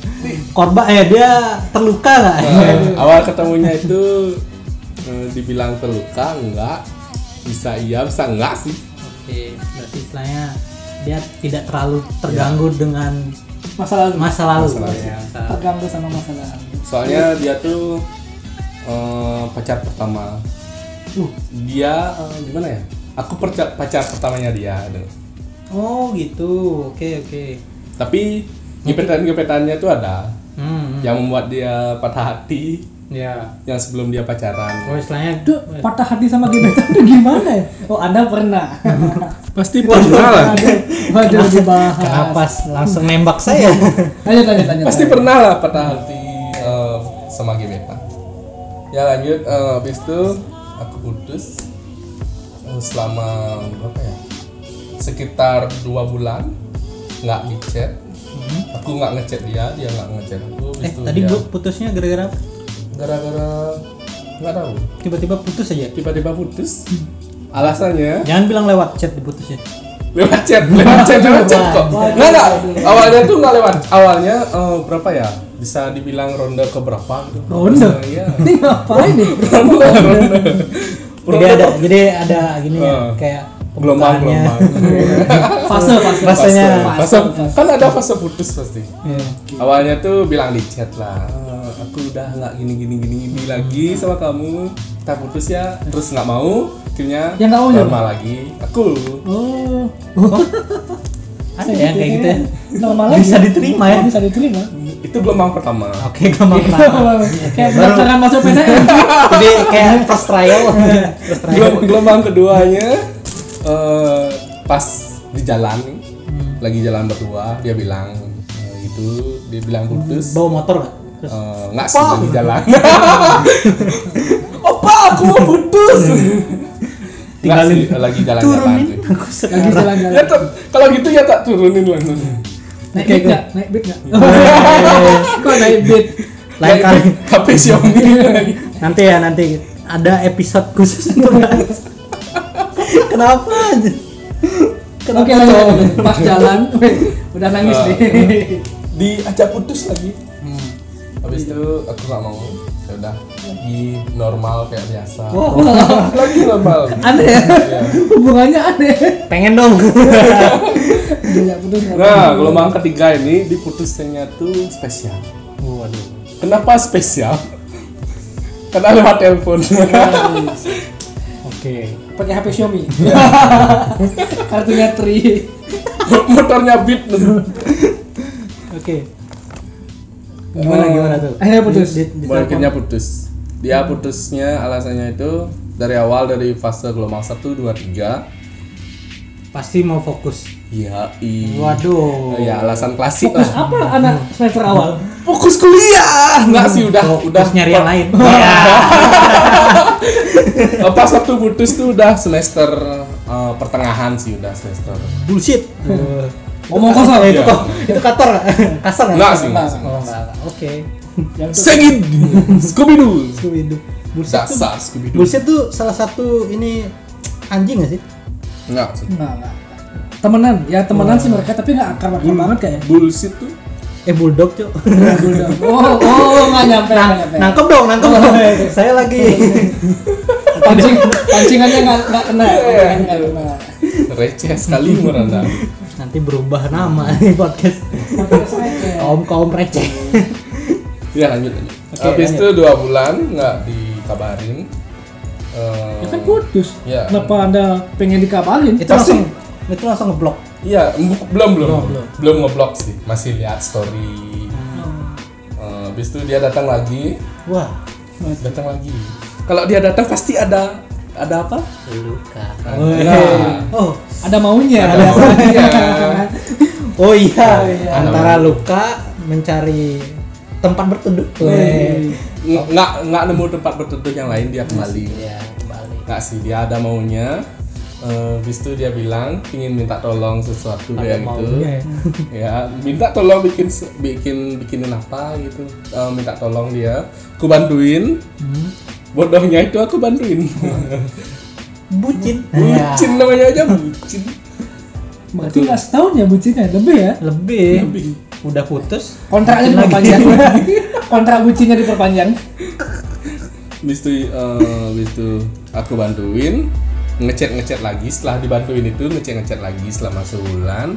Speaker 1: korban eh dia terluka nggak?
Speaker 2: Eh, awal ketemunya itu eh, dibilang terluka enggak bisa iya bisa enggak sih
Speaker 1: Oke, berarti istilahnya dia tidak terlalu terganggu dengan
Speaker 3: masa lalu
Speaker 1: masa lalu.
Speaker 2: Masa lalu, ya.
Speaker 1: Masa lalu.
Speaker 3: terganggu sama masa lalu
Speaker 2: soalnya dia tuh eh, pacar pertama
Speaker 3: uh
Speaker 2: dia eh, gimana ya aku perca- pacar pertamanya dia gitu.
Speaker 1: Oh gitu, oke oke.
Speaker 2: tapi gebetan gebetannya tuh ada
Speaker 1: Hmm,
Speaker 2: yang membuat dia patah hati
Speaker 1: ya.
Speaker 2: yang sebelum dia pacaran
Speaker 1: Oh istilahnya
Speaker 3: Duh, patah hati sama gebetan tuh gimana ya? Oh, Anda <laughs> pernah.
Speaker 2: pasti pernah lah
Speaker 3: Waduh, dibahas.
Speaker 1: kenapa s- langsung nembak saya?
Speaker 3: Lanjut, lanjut, lanjut.
Speaker 2: pasti pernah lah patah hati eh, sama gebetan ya lanjut eh, habis itu aku putus Eh, selama berapa ya sekitar dua bulan nggak ngechat aku nggak ngechat dia dia nggak ngechat aku habis
Speaker 1: Hmm. eh
Speaker 2: itu
Speaker 1: tadi
Speaker 2: dia
Speaker 1: gua putusnya gara-gara
Speaker 2: gara-gara nggak tahu
Speaker 1: tiba-tiba putus aja.
Speaker 2: tiba-tiba putus
Speaker 1: Hmm.
Speaker 2: alasannya
Speaker 1: Jangan bilang lewat chat diputusnya.
Speaker 2: lewat chat lewat chat lewat chat kok
Speaker 3: Waduh.
Speaker 2: nggak nggak awalnya tuh nggak lewat awalnya eh, berapa ya bisa dibilang ronde keberapa gitu
Speaker 3: Ronde?
Speaker 2: iya
Speaker 3: <laughs> Ini ngapain nih?
Speaker 2: <laughs> ronde ronde
Speaker 1: Jadi ada jadi ada gini ya,
Speaker 2: Eh.
Speaker 1: kayak
Speaker 2: gelombang
Speaker 1: pembukaannya.
Speaker 3: <laughs>
Speaker 2: gelombang
Speaker 3: Fase, fase.
Speaker 1: Fasenya.
Speaker 2: fase kan ada fase putus pasti
Speaker 1: Iya.
Speaker 2: awalnya tuh bilang di chat lah "Eh, aku udah nggak gini gini gini gini lagi sama kamu kita putus ya terus nggak mau akhirnya
Speaker 3: Yang nggak mau ya?
Speaker 2: normal lagi aku
Speaker 3: Oh,
Speaker 1: Ada ya kayak gitu ya.
Speaker 3: normal lagi.
Speaker 1: Bisa diterima ya.
Speaker 3: Bisa diterima.
Speaker 2: itu gelombang pertama
Speaker 1: Oke, gampang banget.
Speaker 3: <laughs> Kayak pendaftaran masuk PTN.
Speaker 1: Jadi kayak first trial. First trial.
Speaker 2: Gelom- gelombang keduanya eh, pas di jalan
Speaker 1: Hmm.
Speaker 2: lagi jalan berdua dia bilang eh, gitu dia bilang
Speaker 1: Hmm.
Speaker 2: putus
Speaker 1: Bawa motor nggak? Terus
Speaker 2: Eh, nggak sih lagi
Speaker 1: <laughs>
Speaker 2: jalan opa aku mau putus Nggak
Speaker 1: Hmm. Tinggalin.
Speaker 2: sih, lagi jalan-jalan
Speaker 1: turunin
Speaker 2: tuh.
Speaker 1: aku
Speaker 3: Lagi
Speaker 1: sekarang.
Speaker 2: Ya,
Speaker 3: jalan-jalan.
Speaker 2: tak- kalau gitu ya tak turunin langsung
Speaker 3: Naik beat nggak? Naik beat nggak? Kok naik beat?
Speaker 1: Lain kali.
Speaker 2: HP Xiaomi
Speaker 1: <laughs>
Speaker 2: lagi.
Speaker 1: Nanti ya nanti ada episode khusus untuk bahas. Kenapa aja?
Speaker 2: Kenapa
Speaker 3: Oke lanjut
Speaker 2: cowok?
Speaker 3: pas jalan, <laughs> udah nangis
Speaker 2: Ah.
Speaker 3: nih.
Speaker 2: <laughs> diajak putus lagi
Speaker 1: Hmm.
Speaker 2: habis itu aku nggak mau ya udah lagi normal kayak biasa
Speaker 3: Wah,
Speaker 2: <laughs> lagi normal
Speaker 3: aneh ya,
Speaker 2: Iya.
Speaker 3: hubungannya aneh.
Speaker 1: Pengen dong.
Speaker 3: Dia putus nggak
Speaker 2: nah gelombang ketiga ini diputusinnya tuh spesial
Speaker 1: Oh, Waduh.
Speaker 2: kenapa spesial karena lewat telepon <laughs>
Speaker 3: nangis.
Speaker 1: Oke.
Speaker 3: Pakai HP Xiaomi. Kartunya tri.
Speaker 2: motornya beat
Speaker 1: Oke. Gimana
Speaker 2: Eh,
Speaker 1: gimana tuh?
Speaker 3: akhirnya putus.
Speaker 1: Di- di- di-
Speaker 2: akhirnya putus dia putusnya alasannya itu dari awal dari fase gelombang 1, 2, 3
Speaker 1: Pasti mau fokus.
Speaker 2: Iya, i.
Speaker 1: Waduh.
Speaker 2: Ya alasan klasik
Speaker 3: Fokus
Speaker 2: lah.
Speaker 3: apa anak semester awal?
Speaker 2: Fokus kuliah. Enggak sih udah
Speaker 1: Fokus
Speaker 2: udah
Speaker 1: nyari yang lain.
Speaker 2: <laughs>
Speaker 1: Iya.
Speaker 2: Pas satu putus tuh udah semester eh, pertengahan sih udah semester.
Speaker 1: Bullshit. ya,
Speaker 3: Ngomong kosong
Speaker 1: itu
Speaker 2: Iya.
Speaker 1: kok itu kasar nggak? kasar ya?
Speaker 2: Nggak sih, nggak sih.
Speaker 1: Oh, nggak, nggak. Oke.
Speaker 3: Yang tuh-
Speaker 2: Sengin Scooby Doo.
Speaker 1: Itu hidup. Bullshit tuh.
Speaker 2: Dasar Scooby Doo.
Speaker 1: Bullshit tuh salah satu ini anjing nggak sih?
Speaker 2: Enggak sih.
Speaker 3: Nggak, nggak. Temenan, ya temenan sih mereka tapi nggak akrab akrab banget kayaknya.
Speaker 2: Bullshit tuh.
Speaker 1: Eh bulldog cok.
Speaker 3: Oh, oh, nggak nyampe, nggak nyampe.
Speaker 1: nangkep dong, nangkep dong. Saya <laughs> lagi.
Speaker 3: Pancing, pancingannya nggak nggak kena.
Speaker 2: Iya.
Speaker 3: pancingannya nggak kena.
Speaker 2: Receh sekali umur
Speaker 1: <laughs>
Speaker 2: Anda.
Speaker 1: Nanti berubah nama nih podcast.
Speaker 3: Podcast receh.
Speaker 1: Kaum kaum receh.
Speaker 2: Ya lanjut lanjut.
Speaker 1: Oke,
Speaker 2: Habis itu dua bulan nggak dikabarin. Eh,
Speaker 3: Ya kan putus.
Speaker 2: Iya.
Speaker 3: Kenapa anda pengen dikabarin?
Speaker 1: itu langsung itu langsung ngeblok.
Speaker 2: Iya, bu- belum belum belum, ngeblok sih, masih lihat story.
Speaker 1: Hmm.
Speaker 2: Eh, habis itu dia datang lagi,
Speaker 1: Wah.
Speaker 2: datang lagi. Kalau dia datang pasti ada ada apa?
Speaker 1: Luka.
Speaker 2: Nah,
Speaker 1: Oh,
Speaker 3: Ada maunya. ya?
Speaker 2: Ada maunya.
Speaker 1: oh iya.
Speaker 2: iya.
Speaker 1: Antara luka mencari tempat berteduh.
Speaker 3: Weh.
Speaker 2: <laughs> ng- nggak nggak nemu tempat berteduh yang lain dia kembali.
Speaker 1: Iya, kembali.
Speaker 2: Nggak sih, dia ada maunya. Eh, habis itu dia bilang ingin minta tolong sesuatu kayak gitu.
Speaker 1: maunya
Speaker 2: <laughs> Ya, minta tolong bikin se- bikin bikinin apa gitu. Eh, minta tolong dia, aku bantuin. Bodohnya itu aku bantuin.
Speaker 1: Bucin. Iya.
Speaker 2: bucin namanya aja bucin
Speaker 3: Berarti nggak setahun ya bucinnya, lebih ya?
Speaker 1: Lebih.
Speaker 2: Lebih.
Speaker 1: Udah putus. Bucin
Speaker 3: Kontraknya
Speaker 1: lagi.
Speaker 3: diperpanjang. <laughs> Kontrak bucinnya diperpanjang.
Speaker 2: bis itu eh, bis itu aku bantuin ngechat ngechat lagi setelah dibantuin itu ngechat ngechat lagi selama sebulan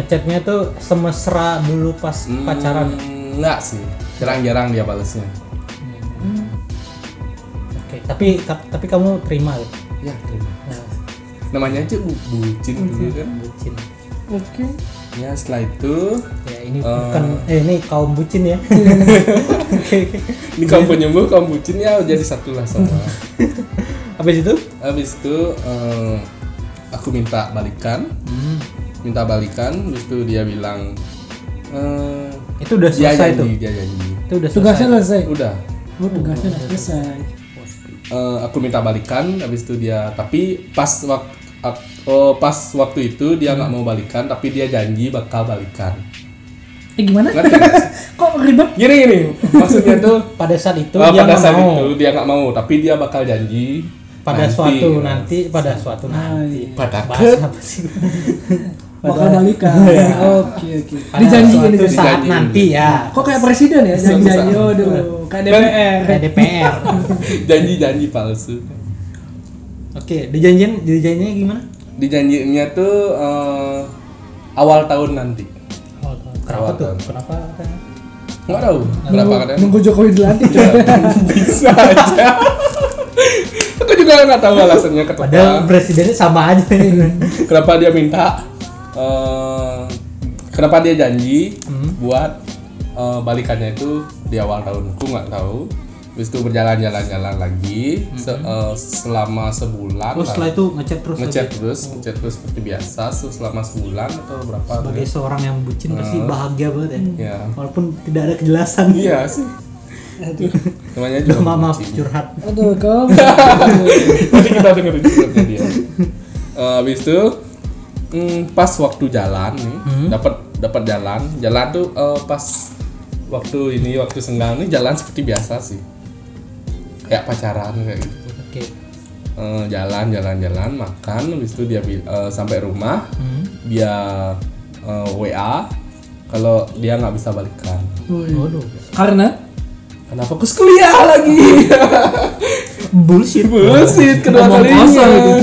Speaker 1: Ngechatnya tuh semesra dulu pas
Speaker 2: Hmm,
Speaker 1: pacaran.
Speaker 2: enggak sih jarang-jarang dia balesnya
Speaker 1: Oke, tapi ta- tapi kamu terima Mhm. ya?
Speaker 2: ya terima
Speaker 1: Nah,
Speaker 2: namanya aja bu- bucin dulu kan
Speaker 1: bucin.
Speaker 3: Oke.
Speaker 2: ya setelah
Speaker 1: <laughs>
Speaker 2: itu
Speaker 1: Ya ini
Speaker 2: Eh.
Speaker 1: bukan eh ini kaum bucin
Speaker 2: <laughs>
Speaker 1: ya. Oke, oke.
Speaker 2: ini kamu penyembuh kamu bucin ya jadi satu lah
Speaker 1: <laughs>
Speaker 2: sama
Speaker 1: Habis itu?
Speaker 2: habis itu eh, aku minta balikan
Speaker 1: Mhm.
Speaker 2: minta balikan habis itu dia bilang eh,
Speaker 1: Itu udah
Speaker 2: dia
Speaker 1: selesai
Speaker 2: janji,
Speaker 1: tuh.
Speaker 2: dia janji Eh,
Speaker 1: Itu udah
Speaker 3: Tugasnya
Speaker 1: selesai.
Speaker 3: selesai.
Speaker 2: udah
Speaker 3: Oh, tugasnya udah selesai.
Speaker 2: Eh, aku minta balikan habis itu dia tapi pas waktu pas waktu itu dia nggak mau balikan tapi dia janji bakal balikan
Speaker 3: Eh gimana?
Speaker 2: Ngerti nggak sih?
Speaker 3: <laughs> Kok ribet?
Speaker 2: gini gini maksudnya
Speaker 1: <laughs>
Speaker 2: tuh
Speaker 1: Pada saat itu
Speaker 2: eh,
Speaker 1: dia
Speaker 2: pada
Speaker 1: nggak
Speaker 2: saat
Speaker 1: mau.
Speaker 2: itu dia nggak mau tapi dia bakal janji
Speaker 1: Pada
Speaker 2: nanti. <laughs>
Speaker 1: suatu nanti, iya. Ah, pada suatu nanti.
Speaker 2: Pada
Speaker 1: Bahas apa <laughs> sih?
Speaker 3: Bakal <laughs> balikan. Oke oke.
Speaker 1: Pada
Speaker 3: Dijanjiin
Speaker 1: suatu
Speaker 3: itu.
Speaker 1: saat
Speaker 2: Dijanjiin.
Speaker 1: nanti ya. Kan-
Speaker 3: Kok kayak presiden ya? Janji-janji. Aduh, kayak DPR.
Speaker 1: Kayak DPR.
Speaker 2: janji janji palsu
Speaker 1: Oke, dijanjian dijanjinya gimana?
Speaker 2: dijanjinya tuh eh, awal tahun nanti
Speaker 1: Oh, Kenapa
Speaker 2: Awal
Speaker 1: tuh?
Speaker 2: tahun.
Speaker 1: Kenapa? katanya?
Speaker 2: nggak tahu berapa kadang <laughs>
Speaker 3: Nunggu Jokowi dilantik.
Speaker 2: Ya, bisa aja
Speaker 1: <laughs>
Speaker 2: aku juga nggak tahu alasannya kenapa
Speaker 1: Padahal presidennya sama <laughs> aja. Iya.
Speaker 2: kenapa dia minta eh, kenapa dia janji
Speaker 1: Hmm.
Speaker 2: buat eh, balikannya itu di awal tahun aku nggak tahu habis itu berjalan-jalan-jalan lagi se- eh, selama
Speaker 1: Terus Hmm.
Speaker 2: sebulan lah.
Speaker 1: Oh, setelah itu Oh. ngechat terus
Speaker 2: ngechat
Speaker 1: lagi.
Speaker 2: terus ngechat terus seperti biasa se- selama sebulan atau berapa
Speaker 1: Sebagai seorang yang bucin pasti bahagia banget ya.
Speaker 2: ya
Speaker 1: Walaupun tidak ada kejelasan. <laughs>
Speaker 2: iya sih namanya juga
Speaker 1: Duh, mama
Speaker 2: bucin.
Speaker 1: curhat.
Speaker 3: Aduh, kau.
Speaker 2: Nanti kita dengerin curhatnya dia. Eh, habis itu mm, pas waktu jalan nih, dapat dapat jalan, jalan tuh eh, pas waktu ini waktu senggang nih jalan seperti biasa sih. Kayak pacaran kayak gitu.
Speaker 1: Oke.
Speaker 2: Eh, jalan jalan jalan makan habis itu dia bi- eh, sampai rumah
Speaker 1: Hmm.
Speaker 2: dia eh, WA kalau dia nggak bisa balikan
Speaker 1: Waduh.
Speaker 3: <laughs> Karena
Speaker 2: karena fokus kuliah lagi <laughs>
Speaker 1: Bullshit.
Speaker 2: bullshit kedua
Speaker 3: Omong
Speaker 2: kalinya
Speaker 3: kosong itu.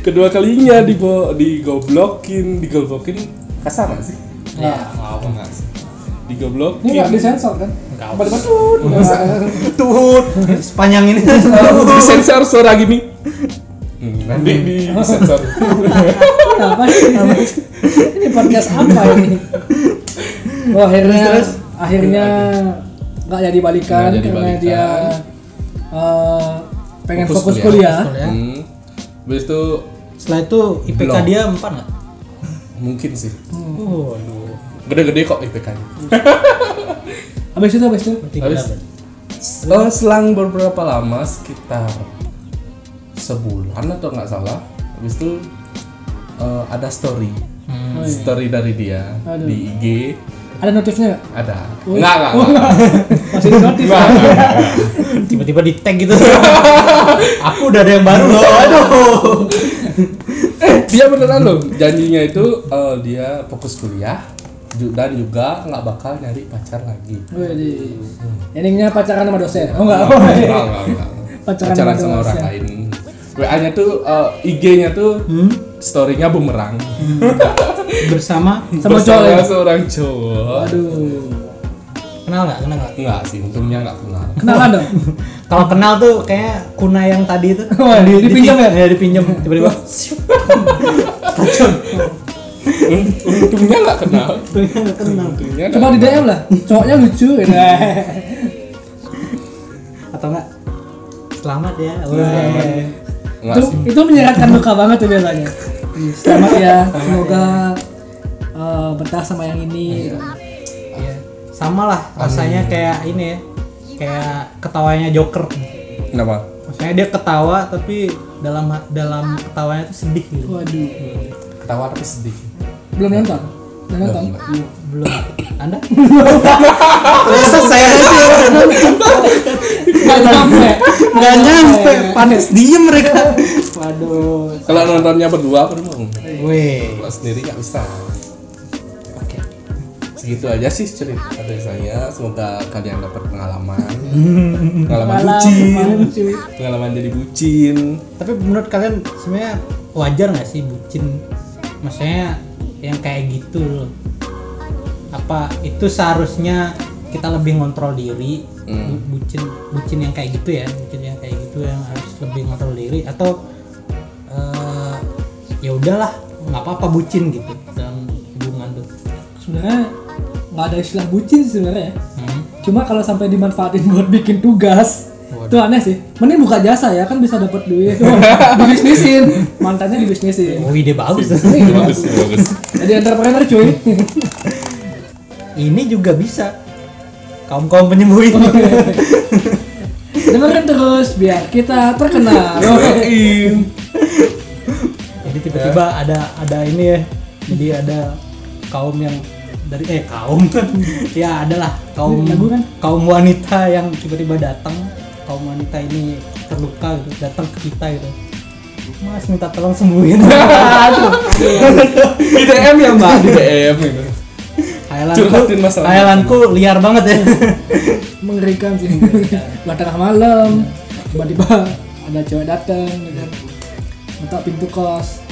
Speaker 2: kedua kalinya digo digoblokin digoblokin kasar nggak sih
Speaker 3: Nah.
Speaker 1: Ya,
Speaker 2: digoblokin
Speaker 3: ini nggak disensor kan?
Speaker 1: Nggak.
Speaker 3: Apa dimaksud? <laughs>
Speaker 2: tuh
Speaker 1: sepanjang <laughs> ini.
Speaker 2: <laughs> disensor suara gini Hmm, nanti <laughs> Hmm. di sensor
Speaker 3: Kenapa sih? ini podcast apa ini? Wah akhirnya
Speaker 1: Terus, terus.
Speaker 3: akhirnya nggak jadi balikan
Speaker 2: Nggak jadi
Speaker 3: karena
Speaker 2: balikan.
Speaker 3: dia eh, pengen
Speaker 2: Fokus
Speaker 3: fokus,
Speaker 2: kuliah.
Speaker 3: kuliah.
Speaker 1: Ya.
Speaker 2: hmm. Habis itu
Speaker 1: Setelah itu IPK
Speaker 2: Belum.
Speaker 1: dia 4 enggak?
Speaker 2: mungkin sih
Speaker 1: Waduh.
Speaker 2: gede-gede kok kan. IPK -nya.
Speaker 3: Habis itu habis itu
Speaker 2: Habis eh, selang beberapa lama sekitar sebulan atau nggak salah habis itu eh, ada story
Speaker 1: Hmm.
Speaker 2: story dari dia
Speaker 3: Oh, iya. Aduh.
Speaker 2: di IG
Speaker 3: ada notifnya nggak?
Speaker 2: ada nggak nggak
Speaker 3: Oh.
Speaker 2: nggak.
Speaker 3: Masih di notif. kan?
Speaker 2: Nggak, nggak, nggak.
Speaker 1: <laughs> Tiba-tiba di tag gitu. <laughs> Aku udah ada yang baru
Speaker 3: <laughs>
Speaker 1: loh. Aduh.
Speaker 2: Eh, dia beneran loh janjinya itu eh, dia fokus kuliah ju- dan juga nggak bakal nyari pacar lagi
Speaker 3: Wih, di endingnya pacaran sama dosen. Oh enggak.
Speaker 2: Nggak, nggak, nggak, nggak.
Speaker 3: Pacaran ya.
Speaker 2: pacaran
Speaker 3: sama
Speaker 2: sama orang
Speaker 3: Indonesia.
Speaker 2: lain WA-nya tuh IG-nya tuh
Speaker 3: Hmm?
Speaker 2: story-nya bumerang
Speaker 1: Bersama
Speaker 3: Sama
Speaker 2: Bersama
Speaker 3: cowok ya?
Speaker 2: seorang cowok
Speaker 3: Aduh.
Speaker 1: kenal nggak? Kenal nggak?
Speaker 2: Enggak sih, untungnya enggak kenal.
Speaker 3: Kenalan dong.
Speaker 1: Kalau kenal tuh kayak kuna yang tadi itu.
Speaker 3: Wah, <laughs> di- dipinjam
Speaker 1: <laughs>
Speaker 3: ya?
Speaker 1: Ya dipinjam
Speaker 3: <laughs>
Speaker 1: tiba-tiba.
Speaker 2: <laughs>
Speaker 1: <laughs>
Speaker 2: untungnya enggak kenal.
Speaker 1: Nggak kenal.
Speaker 2: Untungnya nggak
Speaker 3: Coba di
Speaker 2: kenal.
Speaker 3: DM lah. Cowoknya lucu. gitu.
Speaker 2: <laughs>
Speaker 1: Atau enggak? Selamat ya.
Speaker 3: Iya.
Speaker 2: Enggak
Speaker 3: itu,
Speaker 2: sih.
Speaker 3: itu menyeratkan luka banget tuh biasanya. Selamat ya. Semoga eh, betah sama yang ini.
Speaker 1: Iya. Sama lah rasanya kayak ini ya. Kayak ketawanya Joker.
Speaker 2: Kenapa?
Speaker 1: Maksudnya dia ketawa tapi dalam dalam ketawanya tuh sedih gitu.
Speaker 3: Waduh.
Speaker 2: Ketawa tapi sedih.
Speaker 3: Belum nonton? Belum nonton?
Speaker 2: Belum.
Speaker 1: Belum.
Speaker 3: <laughs>
Speaker 1: Anda? <laughs> Terus saya sih
Speaker 3: Nggak sampai.
Speaker 1: nggak nyampe. Panas diem mereka. Waduh.
Speaker 2: Kalau nontonnya berdua aku mau.
Speaker 1: Weh.
Speaker 2: Kalau sendiri enggak bisa. Oke. Segitu aja sih cerita dari saya. Semoga kalian dapat pengalaman. <laughs> pengalaman
Speaker 3: Malam,
Speaker 2: bucin.
Speaker 3: malam, cuy.
Speaker 2: Pengalaman jadi bucin.
Speaker 1: Tapi menurut kalian sebenarnya wajar nggak sih bucin? Maksudnya yang kayak gitu loh. Apa itu seharusnya kita lebih ngontrol diri
Speaker 2: Hmm.
Speaker 1: bu- bucin bucin yang kayak gitu ya bucin yang kayak gitu yang harus lebih ngontrol diri atau eh, ya udahlah nggak apa-apa bucin gitu dalam hubungan tuh
Speaker 3: Sebenarnya nggak ada istilah bucin sih sebenarnya. ya.
Speaker 1: Hmm.
Speaker 3: Cuma kalau sampai dimanfaatin buat bikin tugas,
Speaker 1: Waduh.
Speaker 3: itu aneh sih. Mending buka jasa ya, kan bisa dapat duit. dibisnisin. Mantannya dibisnisin.
Speaker 1: Oh, ide bagus.
Speaker 2: Bagus, bagus.
Speaker 3: Jadi entrepreneur cuy.
Speaker 1: Ini juga bisa. Kaum kaum penyembuh ini.
Speaker 3: Dengarkan terus biar kita terkenal.
Speaker 1: Jadi tiba-tiba ada ada ini ya. Jadi ada kaum yang dari eh kaum <laughs> ya adalah kaum
Speaker 3: Lagu kan?
Speaker 1: kaum wanita yang tiba-tiba datang kaum wanita ini terluka gitu datang ke kita gitu mas minta tolong sembuhin aduh
Speaker 2: Di DM ya, Mbak. Di DM gitu.
Speaker 1: <laughs> khayalanku
Speaker 2: Curhatin masalah.
Speaker 1: khayalanku liar banget ya
Speaker 3: Mengerikan sih. <laughs> Lah tengah malam tiba-tiba ada cewek datang ya kan. Ketok pintu kos.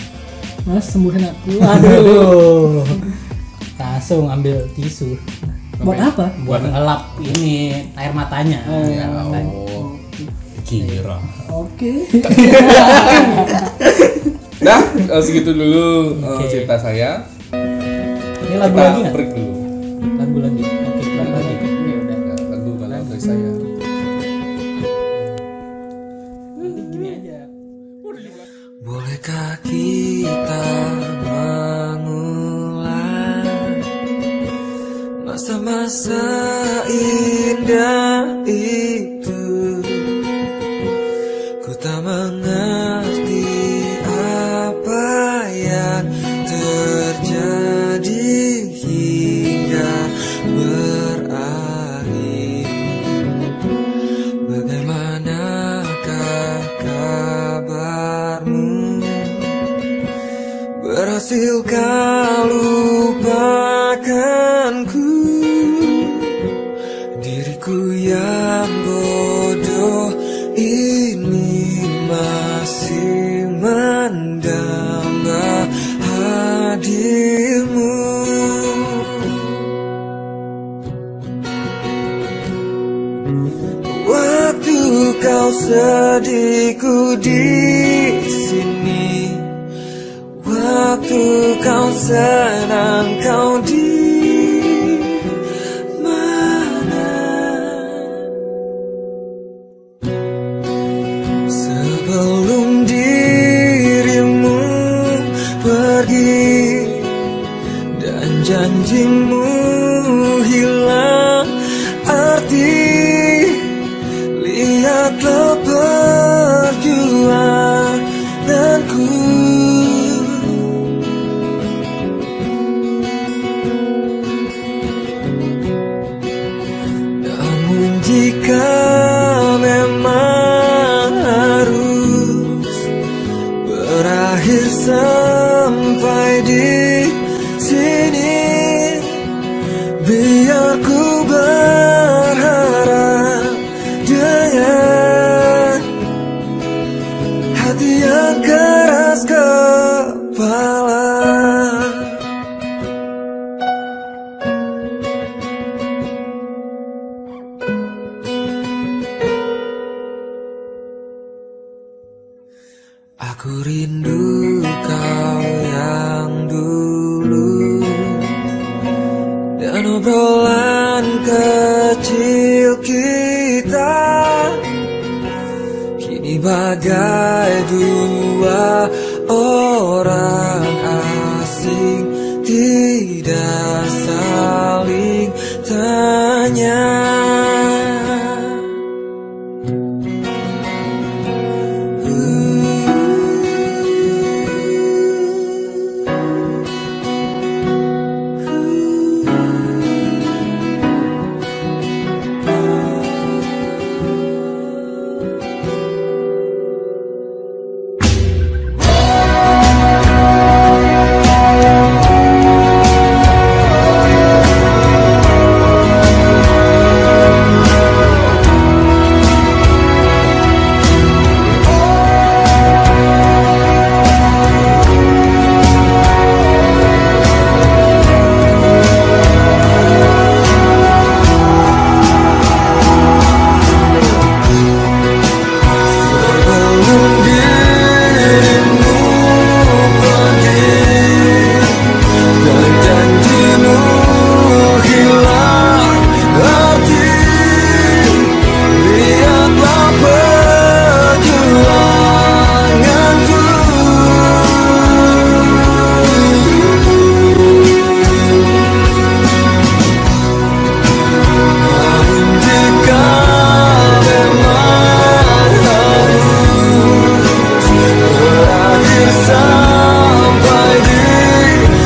Speaker 3: Mas sembuhin aku. Aduh.
Speaker 1: aduh langsung ambil tisu
Speaker 3: <laughs> Buat apa?
Speaker 1: buat ngelap ini air matanya
Speaker 2: Ya Allah. Kira.
Speaker 3: <laughs> Oke.
Speaker 2: Nah, eh, segitu dulu eh, cerita saya.
Speaker 1: ini lagu
Speaker 2: Kita
Speaker 1: lagi nggak?
Speaker 2: break dulu.
Speaker 1: lagu lagi oke lagu lagi ya udah
Speaker 2: Nah, lagu kalau dari saya.
Speaker 1: nanti gini aja
Speaker 5: Bolehkah kita mengulang masa-masa indah itu? Ku tak mengerti apa yang terjadi hingga berakhir. Bagaimanakah kabarmu? berhasil kau lupakanku Diriku yang bodoh ini masih mendamba hadirmu Waktu kau sedihku di sini Waktu kau senang kau di mana Sebelum dirimu pergi dan janjimu hilang arti lihatlah perjuanganku namun jika memang harus berakhir sampai di sini biar ku berharap dengan hati yang keras kepala Aku rindu kau yang dulu Dan obrolan kecil kita Kini bagai dua orang asing Tidak saling tanya Sebelum dirimu pergi Dan janjimu hilang arti Lihatlah perjuanganku Namun jika memang harus berakhir sampai di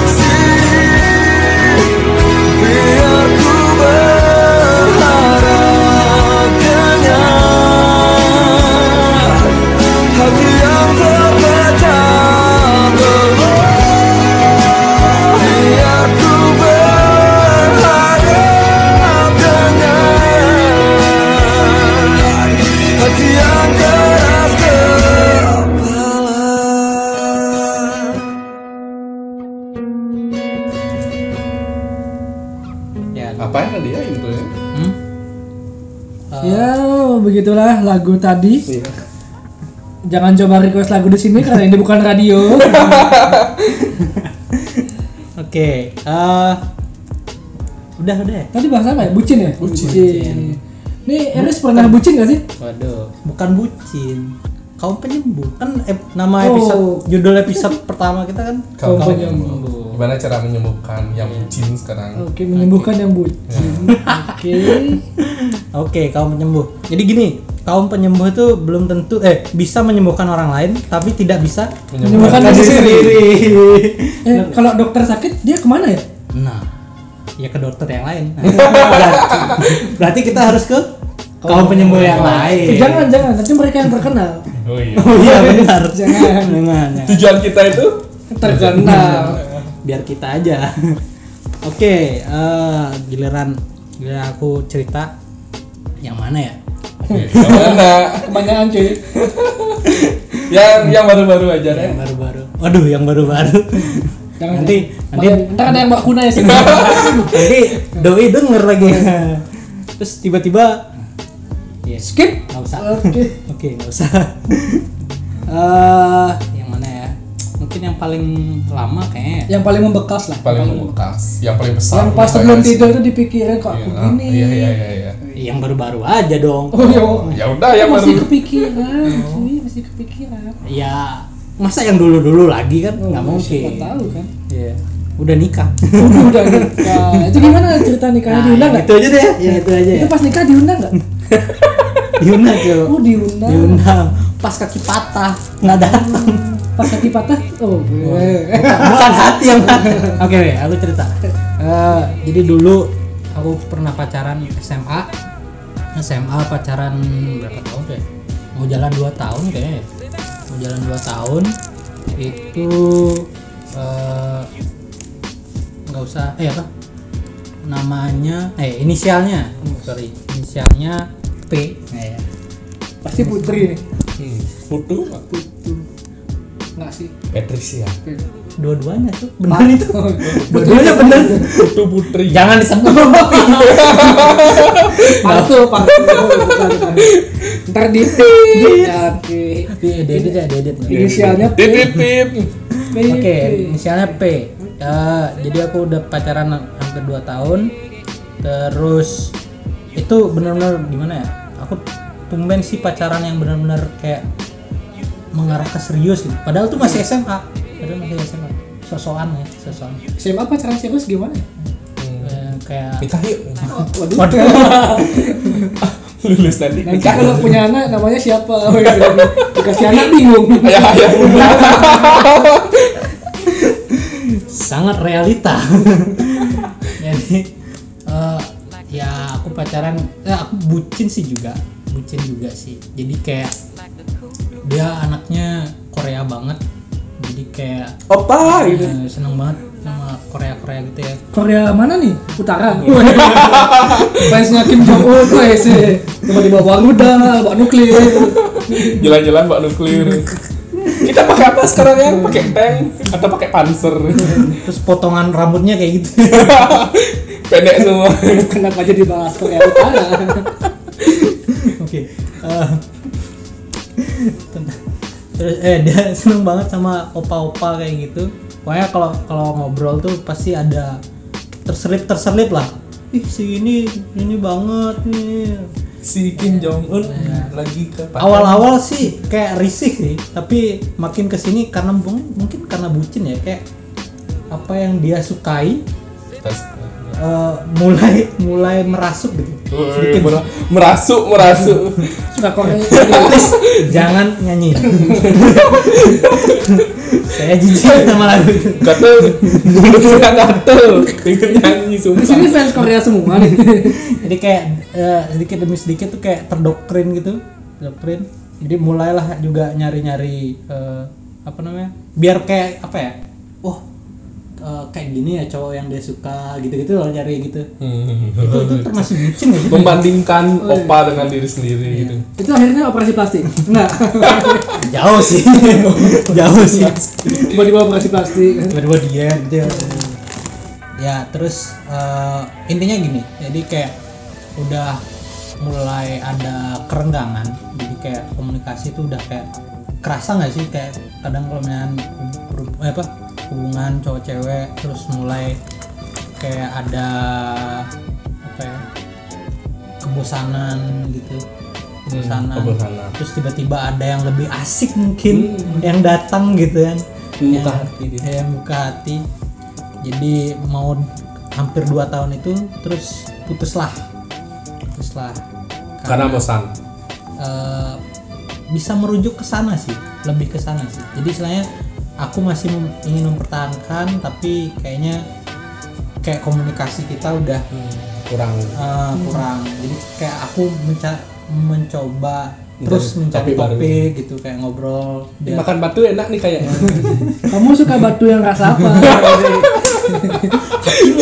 Speaker 5: sini Biar ku berharap dengan hati yang terpecah belah Biar ku berharap dengan hati yang keras kepala
Speaker 1: Ya.
Speaker 2: Apaan tadi ya intronya?
Speaker 1: Hmm?
Speaker 3: Ya, begitulah lagu tadi.
Speaker 2: Iya.
Speaker 3: Jangan coba request lagu di sini karena ini bukan <laughs> radio.
Speaker 1: Oke. eh, udah udah. ya?
Speaker 3: Tadi bahasa apa ya? Bucin ya?
Speaker 2: Bucin.
Speaker 3: Nih, Eris pernah bucin gak sih?
Speaker 1: Waduh. Bukan bucin. Kaum penyembuh kan ep- nama
Speaker 3: Oh.
Speaker 1: episode judul episode pertama kita kan
Speaker 2: Kau tahu
Speaker 3: Kau penyembuh.
Speaker 2: gimana cara menyembuhkan yang jin sekarang?
Speaker 3: Oke, menyembuhkan yang bucin. <laughs> Oke.
Speaker 1: Oke, kaum penyembuh. Jadi gini, kaum penyembuh itu belum tentu eh bisa menyembuhkan orang lain, tapi tidak bisa
Speaker 3: Menyembuhkan
Speaker 1: menyembuhkan diri
Speaker 3: diri
Speaker 1: sendiri.
Speaker 3: Eh, kalau dokter sakit dia kemana ya?
Speaker 1: Nah, ya ke dokter yang lain. berarti, berarti kita harus ke kaum penyembuh yang lain.
Speaker 3: Jangan, jangan. Nanti mereka yang terkenal.
Speaker 2: Oh iya.
Speaker 1: Oh iya benar.
Speaker 3: Jangan.
Speaker 1: Jangan. jangan.
Speaker 2: Tujuan kita itu
Speaker 3: terkenal
Speaker 1: biar kita aja oke eh, giliran giliran aku cerita yang mana ya
Speaker 2: Yang mana?
Speaker 3: kebanyakan cuy
Speaker 2: Yang yang baru-baru aja kan? deh.
Speaker 3: Iya.
Speaker 1: yang baru-baru waduh yang baru-baru
Speaker 3: Jangan,
Speaker 1: nanti
Speaker 3: jangan.
Speaker 1: nanti
Speaker 3: Makanya- ntar ada yang ya, bawa kunai sih
Speaker 1: nanti doi denger lagi terus tiba-tiba ya
Speaker 3: skip
Speaker 1: nggak usah
Speaker 3: oke
Speaker 1: oke nggak usah <laughs> Eh, yang mana ya mungkin yang paling lama kayaknya ya.
Speaker 3: yang paling membekas lah
Speaker 2: Paling membekas, yang paling besar.
Speaker 3: yang pas
Speaker 2: menurut
Speaker 3: sebelum
Speaker 2: saya sih.
Speaker 3: tidur tuh dipikirin kok aku
Speaker 2: Iya, ah,
Speaker 3: gini
Speaker 2: Iya iya iya iya.
Speaker 1: yang baru-baru aja dong
Speaker 3: oh yo
Speaker 2: Ya udah yang
Speaker 3: masih
Speaker 2: baru.
Speaker 3: kepikiran cuy masih kepikiran Oh,
Speaker 1: ya masa yang dulu-dulu lagi kan nggak mungkin
Speaker 3: siapa tahu kan Oh,
Speaker 1: Iya. udah
Speaker 3: <laughs>
Speaker 1: nikah
Speaker 3: udah nikah itu gimana cerita nikahnya
Speaker 1: Nah,
Speaker 3: diundang nggak
Speaker 1: itu aja deh ya itu aja ya
Speaker 3: itu pas nikah diundang nggak
Speaker 1: diundang tuh
Speaker 3: oh <laughs> diundang
Speaker 1: diundang pas kaki patah nggak datang
Speaker 3: pas kaki patah oh eh.
Speaker 1: bukan, bukan hati yang patah. <laughs> oke weh, aku cerita Eh, jadi dulu aku pernah pacaran SMA SMA pacaran berapa tahun deh mau jalan 2 tahun kayaknya ya. mau jalan 2 tahun itu eh, nggak usah eh apa namanya eh inisialnya sorry inisialnya P Eh,
Speaker 3: pasti putri nih
Speaker 2: Hmm, Putu,
Speaker 3: putu nggak sih
Speaker 2: Patricia.
Speaker 1: dua-duanya tuh benar itu
Speaker 3: Dua-duanya
Speaker 1: benar
Speaker 2: Putu Putri.
Speaker 1: jangan disebut
Speaker 3: palsu palsu Bukan, bukan. ntar di ya, oke.
Speaker 1: dedit ya dedit
Speaker 3: inisialnya P
Speaker 2: Titip.
Speaker 3: P,
Speaker 1: oke
Speaker 3: P.
Speaker 1: inisialnya P Eh, jadi aku udah pacaran hampir 2 tahun terus itu benar-benar gimana ya aku tumben sih pacaran yang benar-benar kayak mengarah ke serius gitu padahal tuh masih SMA padahal masih SMA sosokan ya sosokan
Speaker 3: SMA pacaran serius gimana
Speaker 1: Eh, kayak
Speaker 2: Nikah yuk.
Speaker 3: waduh
Speaker 2: Lulus nanti.
Speaker 3: nanti kalau punya anak namanya siapa <laughs> dikasih anak bingung
Speaker 2: Ayah ayah.
Speaker 1: sangat realita <laughs> jadi eh, ya aku pacaran eh, aku bucin sih juga bucin juga sih jadi kayak dia anaknya Korea banget jadi kayak
Speaker 2: Opa gitu.
Speaker 1: eh, seneng banget sama Korea Korea gitu ya
Speaker 3: Korea mana nih? Utara. Fansnya Kim Jong Un, weh sih. Tiba-tiba bawa udah, bawa nuklir.
Speaker 2: Jalan-jalan Mbak Nuklir. Kita pakai apa sekarang ya? Pakai tank atau pakai panser?
Speaker 1: terus potongan rambutnya kayak gitu
Speaker 2: Pendek semua.
Speaker 3: Kenapa aja dibahas Korea Utara?
Speaker 1: <laughs> oke eh, ten- terus eh dia <laughs> seneng banget sama opa-opa kayak gitu pokoknya kalau kalau ngobrol tuh pasti ada terselip terselip lah ih si ini ini banget nih
Speaker 2: Si Kim Jong Un lagi ke
Speaker 1: awal-awal sih kayak risih sih tapi makin kesini karena mung- mungkin karena bucin ya kayak apa yang dia sukai eh, mulai mulai merasuk gitu
Speaker 2: Woi, mer- merasuk merasuk.
Speaker 3: Suka Korea.
Speaker 1: Please, jangan nyanyi. Saya jijik sama lagu itu.
Speaker 2: Gatel, lulusnya gatel. Pengen nyanyi
Speaker 3: Di sini
Speaker 2: sumpah.
Speaker 3: fans Korea semua nih. <laughs>
Speaker 1: Jadi kayak eh, sedikit demi sedikit tuh kayak terdoktrin gitu, doktrin. Jadi mulailah juga nyari-nyari eh, apa namanya? Biar kayak apa ya? Wah, eh, kayak gini ya cowok yang dia suka gitu-gitu loh nyari gitu.
Speaker 2: Hmm.
Speaker 1: Itu, itu termasuk bucin gitu.
Speaker 2: Membandingkan opa dengan diri sendiri gitu.
Speaker 3: Itu akhirnya operasi plastik. Nah, Enggak.
Speaker 1: Jauh sih. <laughs> Jauh sih.
Speaker 3: Tiba-tiba operasi plastik.
Speaker 1: tiba-tiba dia gitu ya. ya terus eh, intinya gini jadi kayak udah mulai ada kerenggangan jadi kayak komunikasi itu udah kayak kerasa nggak sih kayak kadang kalau misalnya hub- eh, apa hubungan cowok cewek terus mulai kayak ada apa ya kebosanan gitu kebosanan,
Speaker 2: kebosanan.
Speaker 1: terus tiba-tiba ada yang lebih asik mungkin yang datang gitu kan
Speaker 2: Membuka
Speaker 1: Yang-
Speaker 2: hati dia.
Speaker 1: ya buka hati jadi mau hampir dua tahun itu terus putuslah putuslah
Speaker 2: Karena bosan.
Speaker 1: eh, bisa merujuk ke sana sih lebih ke sana sih jadi istilahnya aku masih mem- ingin mempertahankan tapi kayaknya kayak komunikasi kita udah
Speaker 3: Hmm.
Speaker 2: Kurang
Speaker 1: eh, kurang jadi kayak aku menca- mencoba terus mencari
Speaker 2: Topik baru.
Speaker 1: topik gitu kayak ngobrol
Speaker 2: Ih,
Speaker 3: Iya.
Speaker 1: biar-
Speaker 2: Makan batu enak nih kayaknya.
Speaker 3: Kamu suka batu yang rasa apa?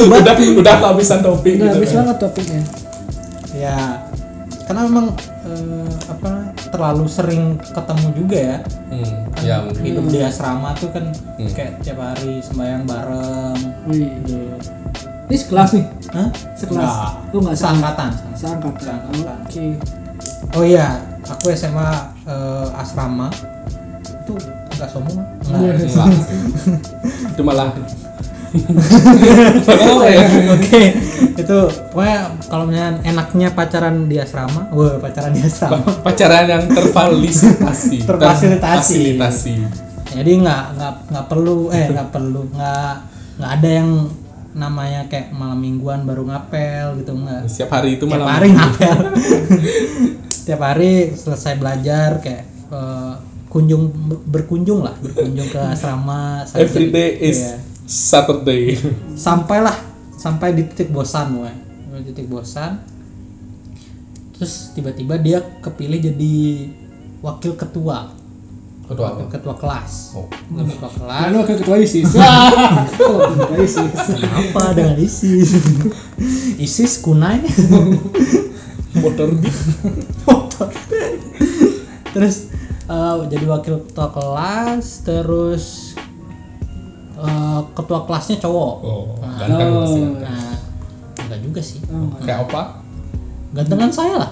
Speaker 2: udah udah kehabisan topik
Speaker 3: Udah
Speaker 2: gitu.
Speaker 3: habis
Speaker 2: kan.
Speaker 3: banget topiknya.
Speaker 1: ya karena memang eh, apa terlalu sering ketemu juga ya
Speaker 2: Hmm, ya
Speaker 1: <laughs>
Speaker 2: mungkin.
Speaker 1: hidup di asrama tuh kan
Speaker 2: Hmm.
Speaker 1: kayak tiap hari sembahyang bareng
Speaker 3: Wih. Ini sekelas nih.
Speaker 1: Hah?
Speaker 3: Sekelas.
Speaker 1: Nggak.
Speaker 3: Oh, nggak sekelas.
Speaker 1: seangkatan
Speaker 3: Seangkatan.
Speaker 1: Seangkatan.
Speaker 3: Oke.
Speaker 1: oh iya aku SMA eh, asrama itu nggak sombong
Speaker 3: Iya.
Speaker 1: Nggak.
Speaker 2: Enggak. Itu malah. Apa ya?
Speaker 1: <laughs> Oke, itu pokoknya kalau misalnya enaknya pacaran di asrama, wah pacaran di asrama.
Speaker 2: Pa- Pacaran yang terfasilitasi.
Speaker 1: Terfasilitasi.
Speaker 2: Terfasilitasi.
Speaker 1: Jadi nggak nggak nggak perlu eh nggak perlu nggak nggak ada yang namanya kayak malam mingguan baru ngapel gitu nggak.
Speaker 2: Setiap hari itu
Speaker 1: Tiap
Speaker 2: malam.
Speaker 1: hari ngapel. <laughs> Tiap hari selesai belajar kayak eh, kunjung berkunjung lah berkunjung ke asrama. sampai-
Speaker 2: Every day is
Speaker 1: Iya.
Speaker 2: Saturday.
Speaker 1: sampailah sampai di titik bosan gue Sampai titik bosan terus tiba-tiba dia kepilih jadi wakil ketua
Speaker 2: Aduh, apa?
Speaker 1: wakil ketua kelas
Speaker 2: Oh.
Speaker 1: Wakil ketua kelas
Speaker 3: Lalu ke ketua ISIS. Oh, ketua ISIS.
Speaker 1: apa dengan ISIS ISIS kunai
Speaker 2: Motor di
Speaker 1: motor terus eh, jadi wakil ketua kelas terus eh, ketua kelasnya cowok
Speaker 2: Oh, ganteng pasti ganteng.
Speaker 1: nah enggak juga sih
Speaker 3: Oh,
Speaker 2: Kayak apa?
Speaker 1: gantengan saya lah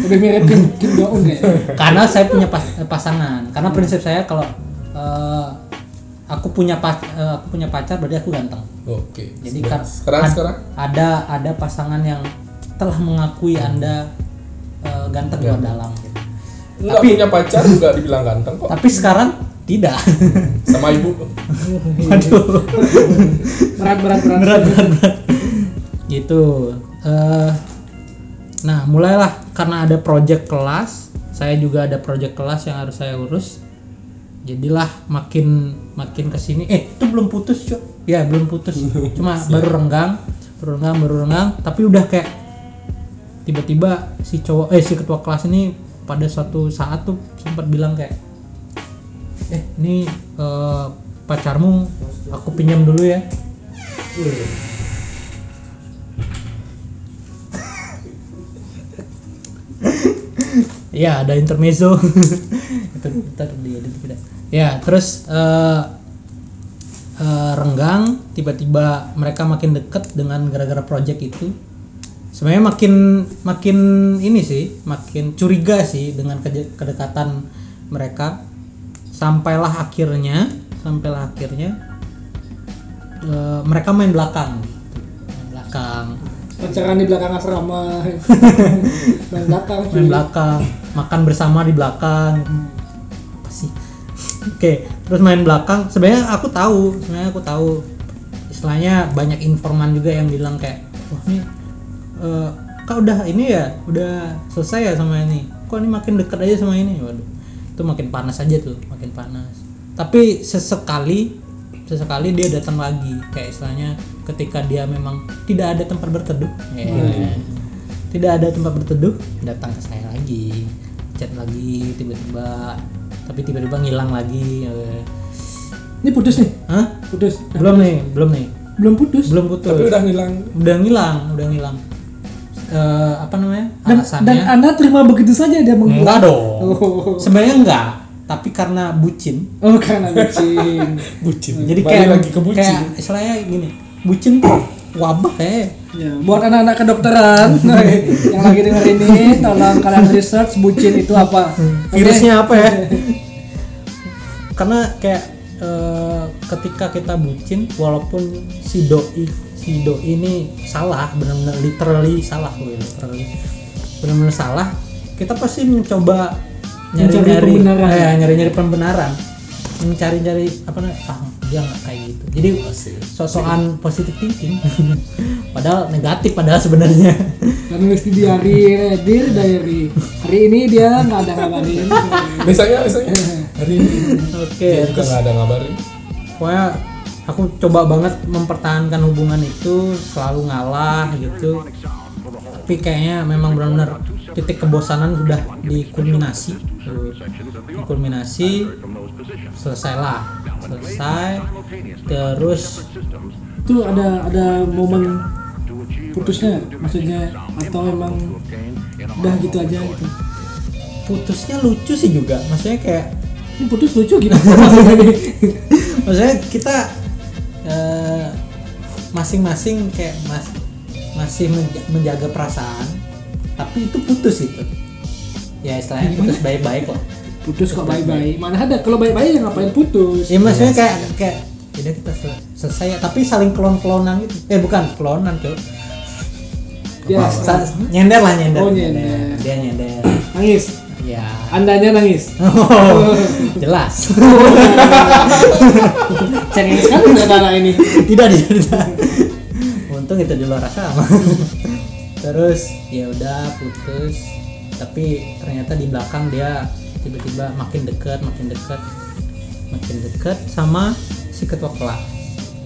Speaker 3: Udah mirip Kim, Kim Jong Un kayaknya.
Speaker 1: karena saya punya pas- eh, pasangan karena prinsip saya kalau eh, aku punya pas- eh, aku punya pacar berarti aku ganteng
Speaker 2: Oke.
Speaker 1: jadi
Speaker 2: Sekarang
Speaker 1: kan
Speaker 2: sekarang,
Speaker 1: ad-
Speaker 2: sekarang
Speaker 1: ada ada pasangan yang telah mengakui anda eh, ganteng
Speaker 2: Iya.
Speaker 1: luar dalam gitu.
Speaker 2: lu nggak punya pacar juga dibilang ganteng kok
Speaker 1: tapi sekarang tidak <laughs>
Speaker 2: sama ibu. Iya,
Speaker 1: aduh
Speaker 3: Berat berat berat.
Speaker 1: berat berat berat gitu eh nah mulailah karena ada project kelas saya juga ada project kelas yang harus saya urus jadilah makin makin kesini eh itu belum putus cuy ya belum putus cuma baru renggang baru renggang baru renggang tapi udah kayak tiba-tiba si cowok eh si ketua kelas ini pada suatu saat tuh sempat bilang kayak eh ini eh, pacarmu aku pinjam dulu ya Iya ada intermezzo itu <laughs> ntar di edit kita. Ya terus eh, eh, renggang tiba-tiba mereka makin deket dengan gara-gara project itu. Sebenarnya makin makin ini sih makin curiga sih dengan keje- kedekatan mereka sampailah akhirnya sampailah akhirnya eh, mereka main belakang gitu. Main belakang
Speaker 3: Pacaran di belakang asrama. Main belakang. cuy.
Speaker 1: main belakang makan bersama di belakang apa sih oke terus main belakang sebenarnya aku tahu sebenarnya aku tahu istilahnya banyak informan juga yang bilang kayak wah ini eh, kak udah ini ya udah selesai ya sama ini kok ini makin deket aja sama ini waduh itu makin panas aja tuh makin panas tapi sesekali sesekali dia datang lagi kayak istilahnya ketika dia memang tidak ada tempat berteduh ya tidak ada tempat berteduh datang ke saya lagi chat lagi tiba-tiba tapi tiba-tiba ngilang lagi eh.
Speaker 3: Ini putus nih.
Speaker 1: Hah?
Speaker 3: Putus.
Speaker 1: belum nih belum nih
Speaker 3: Belum putus.
Speaker 1: belum putus
Speaker 2: Tapi udah ngilang.
Speaker 1: udah ngilang udah ngilang Eh, apa namanya
Speaker 3: Dan,
Speaker 1: alasannya
Speaker 3: dan Anda terima begitu saja dia meng
Speaker 1: enggak dong
Speaker 3: Oh.
Speaker 1: sebenarnya enggak tapi karena bucin
Speaker 3: Oh karena bucin.
Speaker 2: Bucin.
Speaker 1: jadi
Speaker 2: Balik
Speaker 1: kayak
Speaker 2: lagi ke bucin.
Speaker 1: kayak istilahnya gini bucin tuh wabah ya
Speaker 3: Ya, buat anak-anak kedokteran <laughs> eh, yang lagi denger ini, tolong kalian research bucin itu apa.
Speaker 1: Hmm.
Speaker 3: Oke?
Speaker 1: virusnya apa ya <laughs> karena kayak eh, ketika kita bucin walaupun si doi si doi ini salah benar-benar literally salah gue literally benar-benar salah kita pasti mencoba
Speaker 3: Mencari
Speaker 1: nyari-nyari
Speaker 3: pembenaran.
Speaker 1: eh, nyari-nyari pembenaran mencari-cari apa namanya ah dia nggak kayak gitu jadi sosokan positive thinking <laughs> padahal negatif padahal sebenarnya
Speaker 3: Dan nulis di diary, eh, dear diary. Hari ini dia nggak ada ngabarin.
Speaker 2: Biasanya biasanya hari ini
Speaker 1: oke
Speaker 3: Iya,
Speaker 2: kita nggak ada ngabarin.
Speaker 1: pokoknya aku coba banget mempertahankan hubungan itu selalu ngalah gitu tapi kayaknya memang benar-benar titik kebosanan sudah dikulminasi Eh, dikulminasi selesailah selesai terus
Speaker 3: itu ada ada momen putusnya maksudnya atau emang udah gitu aja gitu
Speaker 1: putusnya lucu sih juga maksudnya kayak
Speaker 3: ini putus lucu gitu maksudnya nih?
Speaker 1: <laughs> maksudnya kita eh, masing-masing kayak mas masih menja- menjaga perasaan tapi itu putus itu ya istilahnya putus baik-baik lah
Speaker 3: <laughs> putus kok bye-bye mana ada kalau bye-bye ya ngapain putus
Speaker 1: ya maksudnya kayak kayak jadi kita sel- selesai ya tapi saling klon-klonan gitu eh bukan klonan tuh
Speaker 3: ya
Speaker 1: Sa- nyender lah nyender
Speaker 3: Oh, nyender.
Speaker 1: dia nyender
Speaker 3: nangis
Speaker 1: ya
Speaker 3: andanya nangis
Speaker 1: Oh, jelas
Speaker 3: cengeng sekali ternyata anak ini
Speaker 1: <laughs> tidak tidak untung itu di luar sama <laughs> terus ya udah putus tapi ternyata di belakang dia tiba-tiba makin dekat makin dekat makin dekat sama si ketua kelas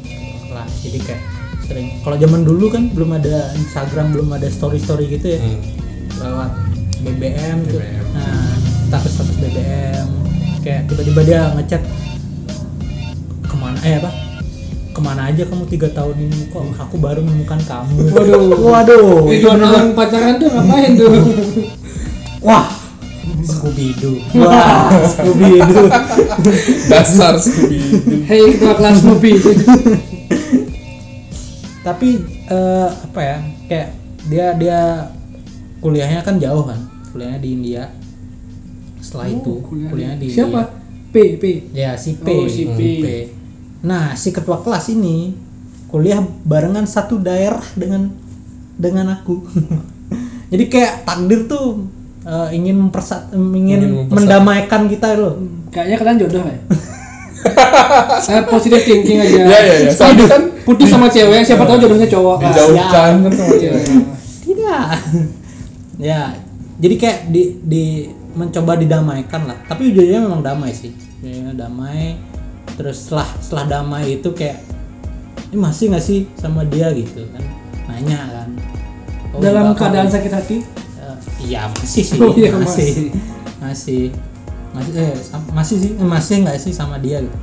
Speaker 1: Ketua kelas jadi kayak sering kalau zaman dulu kan belum ada Instagram belum ada story story gitu ya
Speaker 2: Hmm.
Speaker 1: lewat BBM, tuh.
Speaker 2: BBM.
Speaker 1: Nah, status-status BBM kayak tiba-tiba dia ngechat kemana eh apa kemana aja kamu tiga tahun ini kok aku baru menemukan kamu
Speaker 3: Waduh.
Speaker 1: waduh
Speaker 3: tujuan orang pacaran tuh ngapain tuh
Speaker 1: wah Scooby Doo <laughs> wah Scooby Doo
Speaker 2: <laughs> dasar Scooby
Speaker 3: hei ketua kelas Snoopy
Speaker 1: tapi eh, apa ya kayak dia dia kuliahnya kan jauh kan kuliahnya di India setelah itu Oh, kuliahnya, di India.
Speaker 3: siapa P P
Speaker 1: Ya si P.
Speaker 3: Oh, si P.
Speaker 1: Nah si ketua kelas ini kuliah barengan satu daerah dengan dengan aku. <laughs> Jadi kayak takdir tuh eh, ingin mempersat, ingin,
Speaker 2: Ingin mempersat-
Speaker 1: mendamaikan kita loh.
Speaker 3: kayaknya kalian jodoh ya saya positive thinking aja
Speaker 2: ya ya ya soalnya kan
Speaker 3: putus sama cewek siapa tahu jodohnya cowok kan?
Speaker 2: dijauhkan kan sama
Speaker 3: Iya.
Speaker 2: dia
Speaker 1: Tidak. <laughs> ya. Jadi kayak di, di mencoba didamaikan lah. Tapi ujungnya memang damai sih. Ujungnya damai. Terus setelah setelah damai itu kayak ini masih nggak sih sama dia gitu kan? Nanya kan. Oh,
Speaker 3: dalam
Speaker 1: enggak,
Speaker 3: keadaan
Speaker 1: kamu-
Speaker 3: sakit hati
Speaker 1: Eh, iya masih sih,
Speaker 3: Oh, iya,
Speaker 1: masih. masih, masih, eh, sam- masih sih, eh, masih nggak sih sama dia gitu?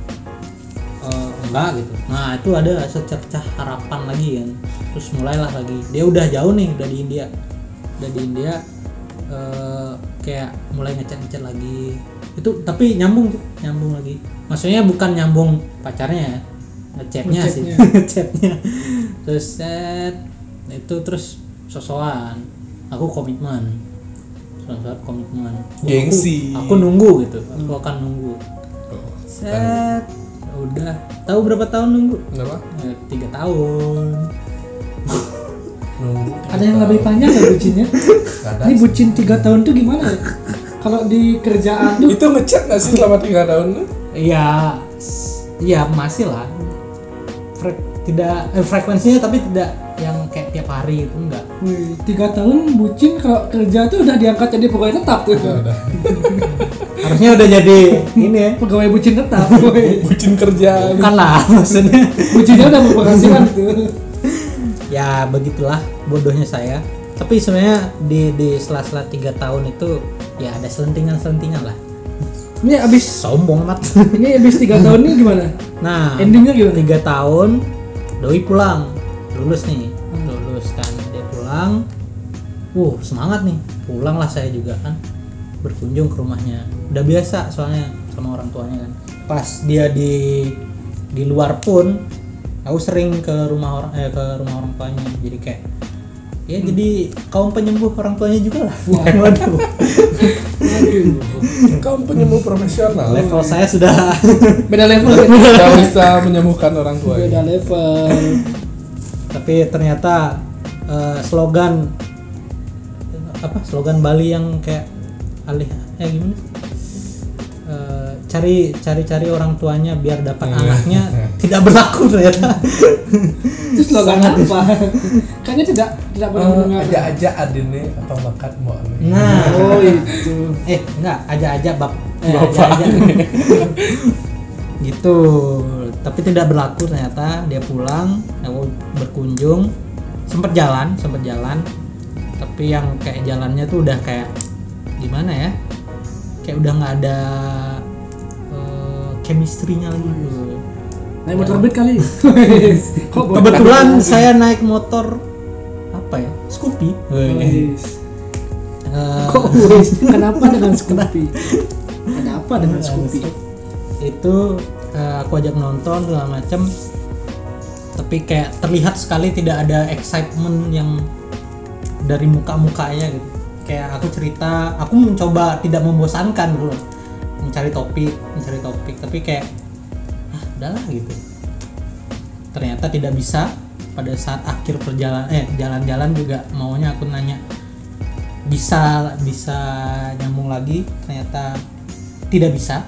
Speaker 1: Eh, enggak gitu. Nah itu ada secercah harapan lagi kan. Terus mulailah lagi. Dia udah jauh nih, udah di India, udah di India. eh, kayak mulai ngecat ngecat lagi. Itu tapi nyambung, tuh, nyambung lagi. Maksudnya bukan nyambung pacarnya ya, ngechatnya sih,
Speaker 3: Ngechatnya.
Speaker 1: <laughs> ngechatnya. terus set itu terus sosokan. Aku komitmen surat komitmen Aku-
Speaker 2: Gengsi.
Speaker 1: aku, nunggu gitu aku akan nunggu set udah tahu berapa tahun nunggu
Speaker 2: kenapa
Speaker 1: Eh, tiga tahun
Speaker 2: nunggu
Speaker 3: ada yang lebih panjang nggak bucinnya
Speaker 2: ada
Speaker 3: ini bucin tiga tahun tuh gimana ya kalau di kerjaan tuh
Speaker 2: itu ngechat nggak sih selama tiga tahun
Speaker 1: iya s- iya masih lah Fre- tidak eh, frekuensinya tapi tidak yang kayak tiap hari itu enggak
Speaker 3: Wih, tiga tahun bucin kalau kerja tuh udah diangkat jadi pegawai tetap gitu. tuh
Speaker 1: harusnya udah jadi ini ya
Speaker 3: pegawai bucin tetap <laughs> woi.
Speaker 2: bucin kerjaan
Speaker 1: bukan lah <laughs> maksudnya
Speaker 3: bucinnya udah berpenghasilan tuh
Speaker 1: ya begitulah bodohnya saya tapi sebenarnya di di sela-sela tiga tahun itu ya ada selentingan selentingan lah
Speaker 3: ini abis
Speaker 1: sombong mat
Speaker 3: ini abis tiga tahun ini gimana
Speaker 1: <laughs> nah
Speaker 3: endingnya gimana
Speaker 1: tiga tahun Doi pulang lulus nih lulus kan dia pulang uh semangat nih pulanglah saya juga kan berkunjung ke rumahnya udah biasa soalnya sama orang tuanya kan pas dia di di luar pun aku sering ke rumah orang eh, ke rumah orang tuanya jadi kayak ya jadi kaum penyembuh orang tuanya juga lah waduh
Speaker 2: kamu penyembuh profesional
Speaker 1: <laughs> level saya sudah
Speaker 3: beda level
Speaker 2: nggak bisa menyembuhkan orang tua
Speaker 3: beda level
Speaker 1: tapi ternyata eh, slogan apa slogan Bali yang kayak alih eh gimana Eh, cari cari cari orang tuanya biar dapat
Speaker 2: Iya.
Speaker 1: anaknya tidak berlaku ternyata
Speaker 3: itu slogan apa kayaknya tidak Oh, tidak
Speaker 2: Ah,
Speaker 3: pernah mendengar
Speaker 2: aja aja adine atau makan mau nih
Speaker 1: nah
Speaker 3: oh itu
Speaker 1: eh enggak aja aja bab eh,
Speaker 2: Bapak.
Speaker 1: aja-aja. gitu tapi tidak berlaku ternyata dia pulang aku berkunjung sempat jalan sempat jalan tapi yang kayak jalannya tuh udah kayak gimana ya kayak udah nggak ada eh, chemistry-nya lagi gitu.
Speaker 3: Naik motor beat <laughs> kali. Kok bodoh?
Speaker 1: kebetulan saya naik motor apa ya Scoopy
Speaker 3: Wis.
Speaker 1: Eh,
Speaker 3: Kok wis? Kenapa dengan Scoopy? Ada apa dengan Scoopy?
Speaker 1: itu eh, aku ajak nonton segala macem tapi kayak terlihat sekali tidak ada excitement yang dari muka-mukanya gitu kayak aku cerita aku mencoba tidak membosankan dulu mencari topik mencari topik tapi kayak ah udahlah gitu ternyata tidak bisa pada saat akhir perjalanan eh jalan-jalan juga maunya aku nanya bisa bisa nyambung lagi ternyata tidak bisa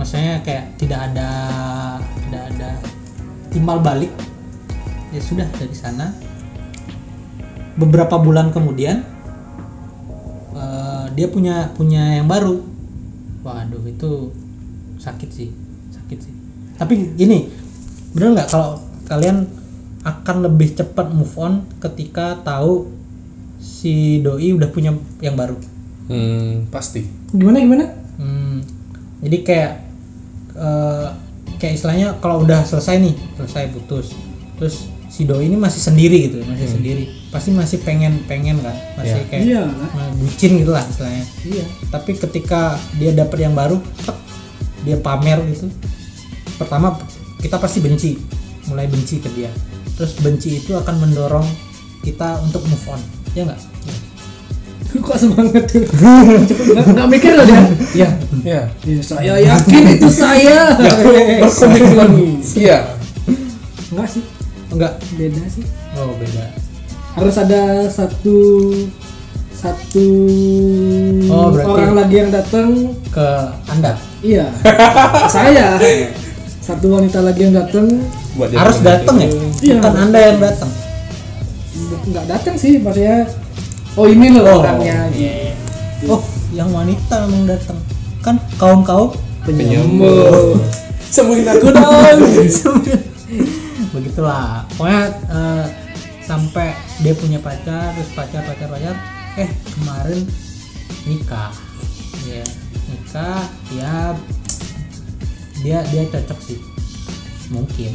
Speaker 1: maksudnya kayak tidak ada tidak ada timbal balik ya sudah dari sana beberapa bulan kemudian eh, dia punya punya yang baru waduh itu sakit sih sakit sih tapi gini bener nggak kalau kalian akan lebih cepat move on ketika tahu si doi udah punya yang baru
Speaker 2: Hmm, pasti.
Speaker 3: Gimana gimana?
Speaker 1: Hmm, jadi kayak eh, kayak istilahnya kalau udah selesai nih, selesai putus. Terus si doi ini masih sendiri gitu, masih sendiri. Pasti masih pengen-pengen kan, masih
Speaker 2: Iya.
Speaker 1: kayak
Speaker 3: Iya lah.
Speaker 1: eh, bucin gitu lah istilahnya.
Speaker 3: Iya.
Speaker 1: Tapi ketika dia dapet yang baru, tek, dia pamer gitu. Pertama kita pasti benci, mulai benci ke dia. Terus benci itu akan mendorong kita untuk move on, ya nggak?
Speaker 3: Iya. Kok semangat <laughs> tuh? Nggak nggak mikir loh dia. Iya.
Speaker 2: Iya.
Speaker 3: Iya, saya yakin itu
Speaker 1: <laughs>
Speaker 3: saya.
Speaker 1: Ya,
Speaker 3: <laughs>
Speaker 2: Berkomitmen. Iya.
Speaker 3: Enggak sih,
Speaker 1: Enggak.
Speaker 3: beda sih.
Speaker 1: Oh beda.
Speaker 3: harus ada satu satu
Speaker 1: Oh, berarti-
Speaker 3: orang lagi yang datang
Speaker 1: Ke Anda. <laughs>
Speaker 3: iya saya satu wanita lagi yang datang
Speaker 2: Buat dia
Speaker 1: harus
Speaker 2: berkomitmen.
Speaker 1: datang ya
Speaker 3: Iya.
Speaker 1: bukan anda yang datang
Speaker 3: nggak- nggak datang sih maksudnya oh ini loh
Speaker 1: Oh.
Speaker 3: orangnya <laughs>
Speaker 1: oh yang wanita memang datang kan kaum kaum
Speaker 3: penyembuh
Speaker 2: Sembuhin aku dong.
Speaker 1: begitulah pokoknya eh, sampai dia punya pacar terus pacar pacar pacar eh kemarin nikah ya nikah ya dia dia cocok sih mungkin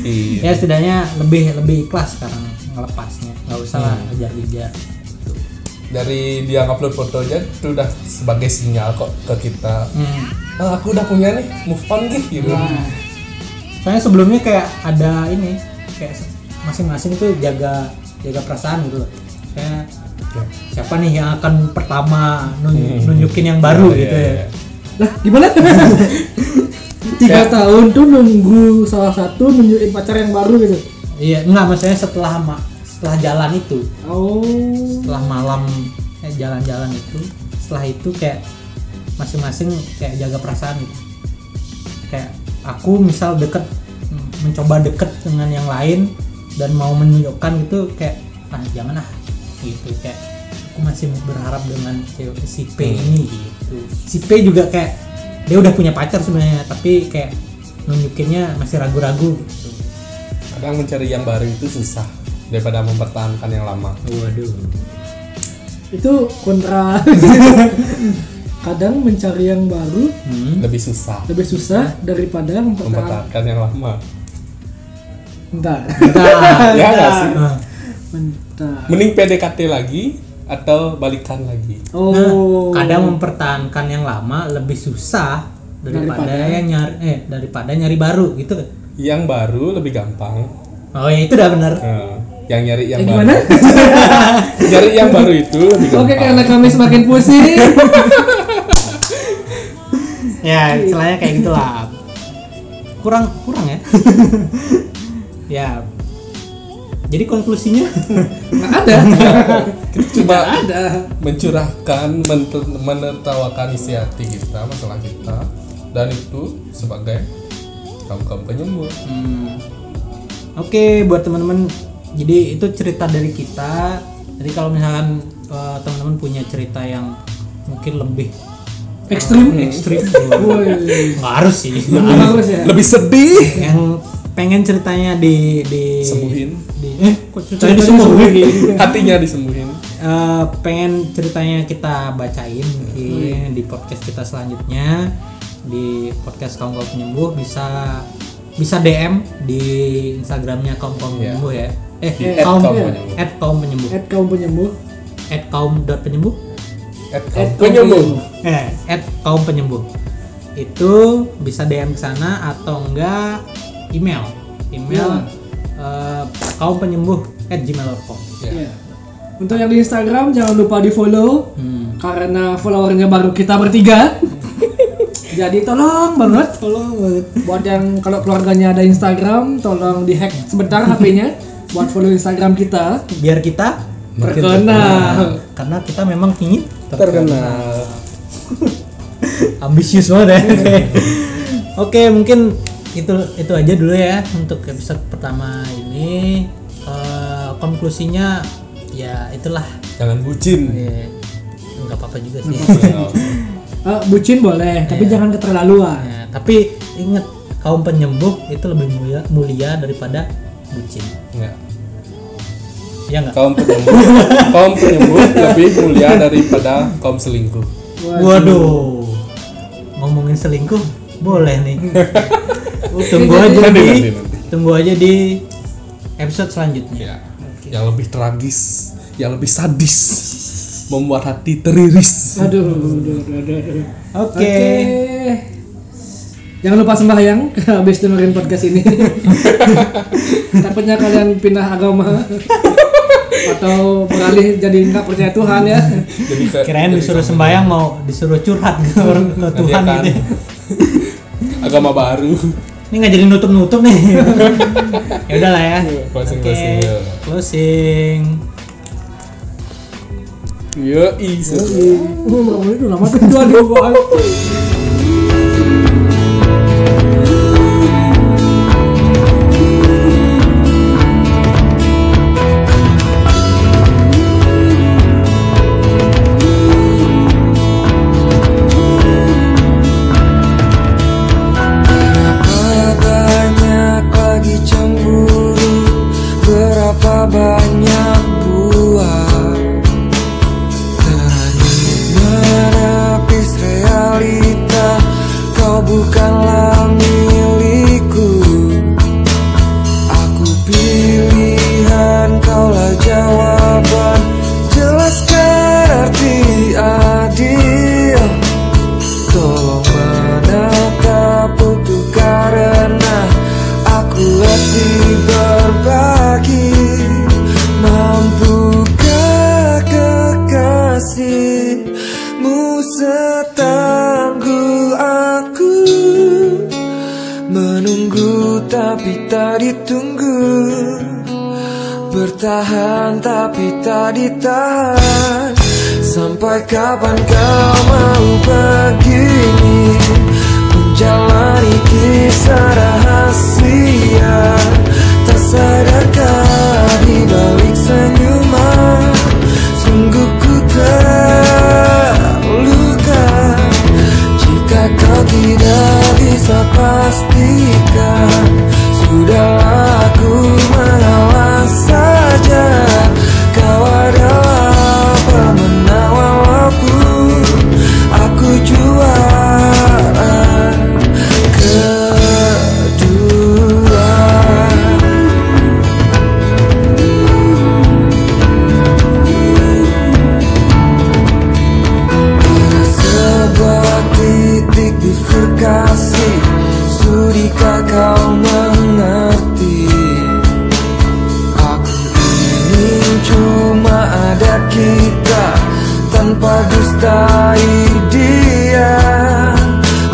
Speaker 2: Iya.
Speaker 1: <laughs> ya setidaknya lebih lebih ikhlas sekarang ngelepasnya nggak usah lah ngejar ngejar
Speaker 2: Dari dia upload fotonya itu udah sebagai sinyal kok ke kita.
Speaker 1: hmm.
Speaker 2: Ah, aku udah punya nih, move on gih gitu.
Speaker 1: soalnya sebelumnya kayak ada ini kayak se- masing-masing tuh jaga jaga perasaan gitu loh saya
Speaker 2: Oke.
Speaker 1: siapa nih yang akan pertama nun- nunjukin yang Hmm. baru
Speaker 2: Iya,
Speaker 1: gitu
Speaker 2: iya,
Speaker 1: ya
Speaker 2: iya.
Speaker 3: lah gimana <laughs> tiga
Speaker 1: Ya.
Speaker 2: Kayak-
Speaker 3: tahun tuh nunggu salah satu nunjukin pacar yang baru gitu
Speaker 1: iya enggak maksudnya setelah ma- setelah jalan itu
Speaker 3: oh
Speaker 1: setelah malam eh, jalan-jalan itu setelah itu kayak masing-masing kayak jaga perasaan gitu kayak aku misal deket m- mencoba deket dengan yang lain dan mau menunjukkan gitu kayak ah jangan ah gitu kayak aku masih berharap dengan cewek- si P ini gitu si P juga kayak dia udah punya pacar sebenarnya tapi kayak nunjukinnya masih ragu-ragu gitu
Speaker 2: Kadang mencari yang baru itu susah daripada mempertahankan yang lama.
Speaker 1: waduh
Speaker 3: itu <laughs> kontra kadang mencari yang baru
Speaker 1: hmm.
Speaker 2: Lebih susah
Speaker 3: lebih susah daripada mempertahankan
Speaker 2: mempertahankan yang lama.
Speaker 3: <laughs> bentar
Speaker 1: Bentar.
Speaker 2: ya
Speaker 3: iya.
Speaker 2: nggak sih?
Speaker 1: Ah.
Speaker 3: bentar
Speaker 2: Mending PDKT lagi atau balikan lagi.
Speaker 3: oh
Speaker 1: Nah, kadang mempertahankan yang lama lebih susah daripada,
Speaker 3: Daripada-
Speaker 1: yang nyari eh daripada nyari baru gitu kan.
Speaker 2: Yang baru lebih gampang.
Speaker 1: Oh ya itu udah benar.
Speaker 2: Eh, yang nyari yang
Speaker 3: Eh,
Speaker 2: baru.
Speaker 3: gimana
Speaker 2: <laughs> Nyari yang baru itu lebih gampang.
Speaker 3: oke karena kami semakin <laughs> pusing
Speaker 1: ya, istilahnya kayak gitulah. Kurang kurang <laughs> ya. ya. Jadi konklusinya
Speaker 3: nggak ada
Speaker 2: Kita coba
Speaker 3: nggak ada
Speaker 2: mencurahkan, mente- menertawakan isi hati kita, masalah kita, dan itu sebagai kaum kaum penyembuh.
Speaker 1: Hmm. Oke, buat teman-teman, jadi itu cerita dari kita. Jadi kalau misalkan eh, teman-teman punya cerita yang mungkin lebih
Speaker 3: ekstrim Hmm.
Speaker 1: ekstrim,
Speaker 3: Woi.
Speaker 1: nggak harus sih.
Speaker 3: Nggak harus ya
Speaker 2: Lebih sedih.
Speaker 1: yang pengen ceritanya di di
Speaker 2: Sembuhin.
Speaker 1: di eh kok
Speaker 3: Ceritanya
Speaker 1: ceritanya disembuhin
Speaker 2: hatinya disembuhin
Speaker 1: Eh, pengen ceritanya kita bacain mungkin di podcast kita selanjutnya di podcast kaum kaum penyembuh bisa bisa DM di Instagramnya kaum kaum
Speaker 2: Iya.
Speaker 1: penyembuh ya eh
Speaker 2: Di at
Speaker 1: kaum
Speaker 2: kaum penyembuh.
Speaker 1: at kaum penyembuh
Speaker 3: At kaum penyembuh.
Speaker 1: at kaum dot penyembuh
Speaker 2: at
Speaker 3: At kaum
Speaker 2: penyembuh
Speaker 1: eh at kaum penyembuh itu bisa DM ke sana atau enggak email email eh, kaum penyembuh at gmail.com
Speaker 2: ya.
Speaker 3: Iya. Untuk yang di Instagram jangan lupa di follow karena followernya baru kita <laughs> bertiga. Jadi tolong banget, tolong banget. Buat yang kalau keluarganya ada Instagram, tolong dihack sebentar <laughs> HP-nya buat follow Instagram kita.
Speaker 1: biar kita
Speaker 3: Terkenal.
Speaker 1: karena kita memang ingin
Speaker 2: terkenal
Speaker 1: ambisius banget ya Oke. oke mungkin itu itu aja dulu ya untuk episode pertama ini Eh, konklusinya ya itulah
Speaker 2: jangan bucin
Speaker 1: Eh, nggak apa-apa juga sih
Speaker 3: Eh, bucin boleh, tapi jangan keterlaluan.
Speaker 1: Ya, tapi ingat kaum penyembuh itu lebih mulia, mulia daripada bucin
Speaker 2: ya.
Speaker 1: ya nggak
Speaker 2: kaum penyembuh kaum penyembuh lebih mulia daripada kaum selingkuh
Speaker 1: waduh ngomongin selingkuh boleh
Speaker 2: <laughs>
Speaker 1: nih tunggu aja
Speaker 2: Nanti,
Speaker 1: di
Speaker 2: nanti, nanti.
Speaker 1: tunggu aja di episode selanjutnya
Speaker 2: ya. yang lebih tragis yang lebih sadis membuat hati teriris
Speaker 3: Aduh, aduh, aduh, aduh, aduh.
Speaker 1: oke
Speaker 3: Oke. Jangan lupa sembahyang <laughs> habis dengerin podcast ini. Takutnya kalian pindah agama atau beralih jadi nggak percaya Tuhan ya.
Speaker 2: jadi kayak
Speaker 1: kirain disuruh sembahyang mau disuruh curhat ke orang ke
Speaker 2: Nanti
Speaker 1: Tuhan
Speaker 2: akan
Speaker 1: gitu ya.
Speaker 2: <laughs> agama baru
Speaker 1: ini nggak jadi nutup nutup
Speaker 2: <laughs>
Speaker 1: nih ya udahlah ya
Speaker 2: Closing,
Speaker 1: Oke,
Speaker 2: closing, ya.
Speaker 1: closing
Speaker 2: yo isu
Speaker 3: Uh, kamu itu lama tuh dua dua.
Speaker 5: Banyak lagi cemburu Berapa banyak buah Terhanyut menapis realita Kau bukanlah milikku Aku pilihan kaulah jawaban Jelaskan arti adil Tolong menatap untuk karena aku letih berbagi Mampukah kekasihmu setangguh aku Menunggu tapi tak ditunggu Bertahan tapi tak ditahan Sampai kapan kau mau begini Menjalani kisah rahasia Tak sadarkah di balik senyuman Sungguh ku terluka Jika kau tidak bisa pastikan Sudah aku mengalah saja Kau adalah pemenang walaupun Aku juara kedua Sebuah titik di kekasih Sudikah kau mengerti Aku ingin cuma ada kita Tanpa gustai dia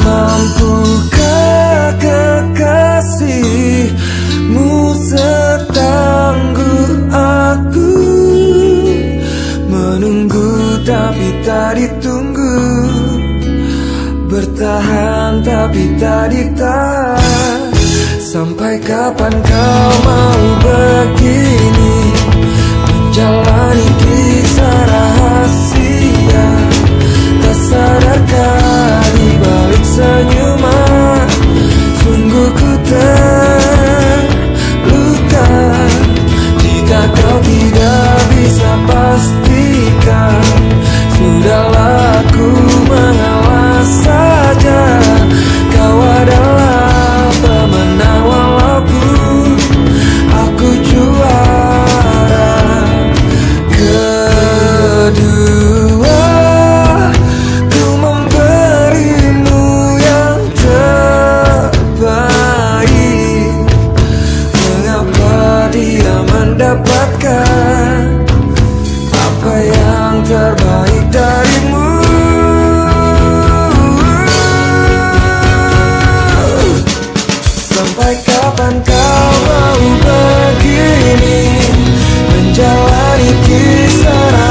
Speaker 5: Mampukah kekasihmu setangguh aku Menunggu tapi tak ditunggu Bertahan tapi tak ditahan Sampai kapan kau mau begini Menjalani kisah rahasia Tak sadarkah di balik senyuman Sungguh ku ter Sampai kapan kau mau begini Menjalani kisah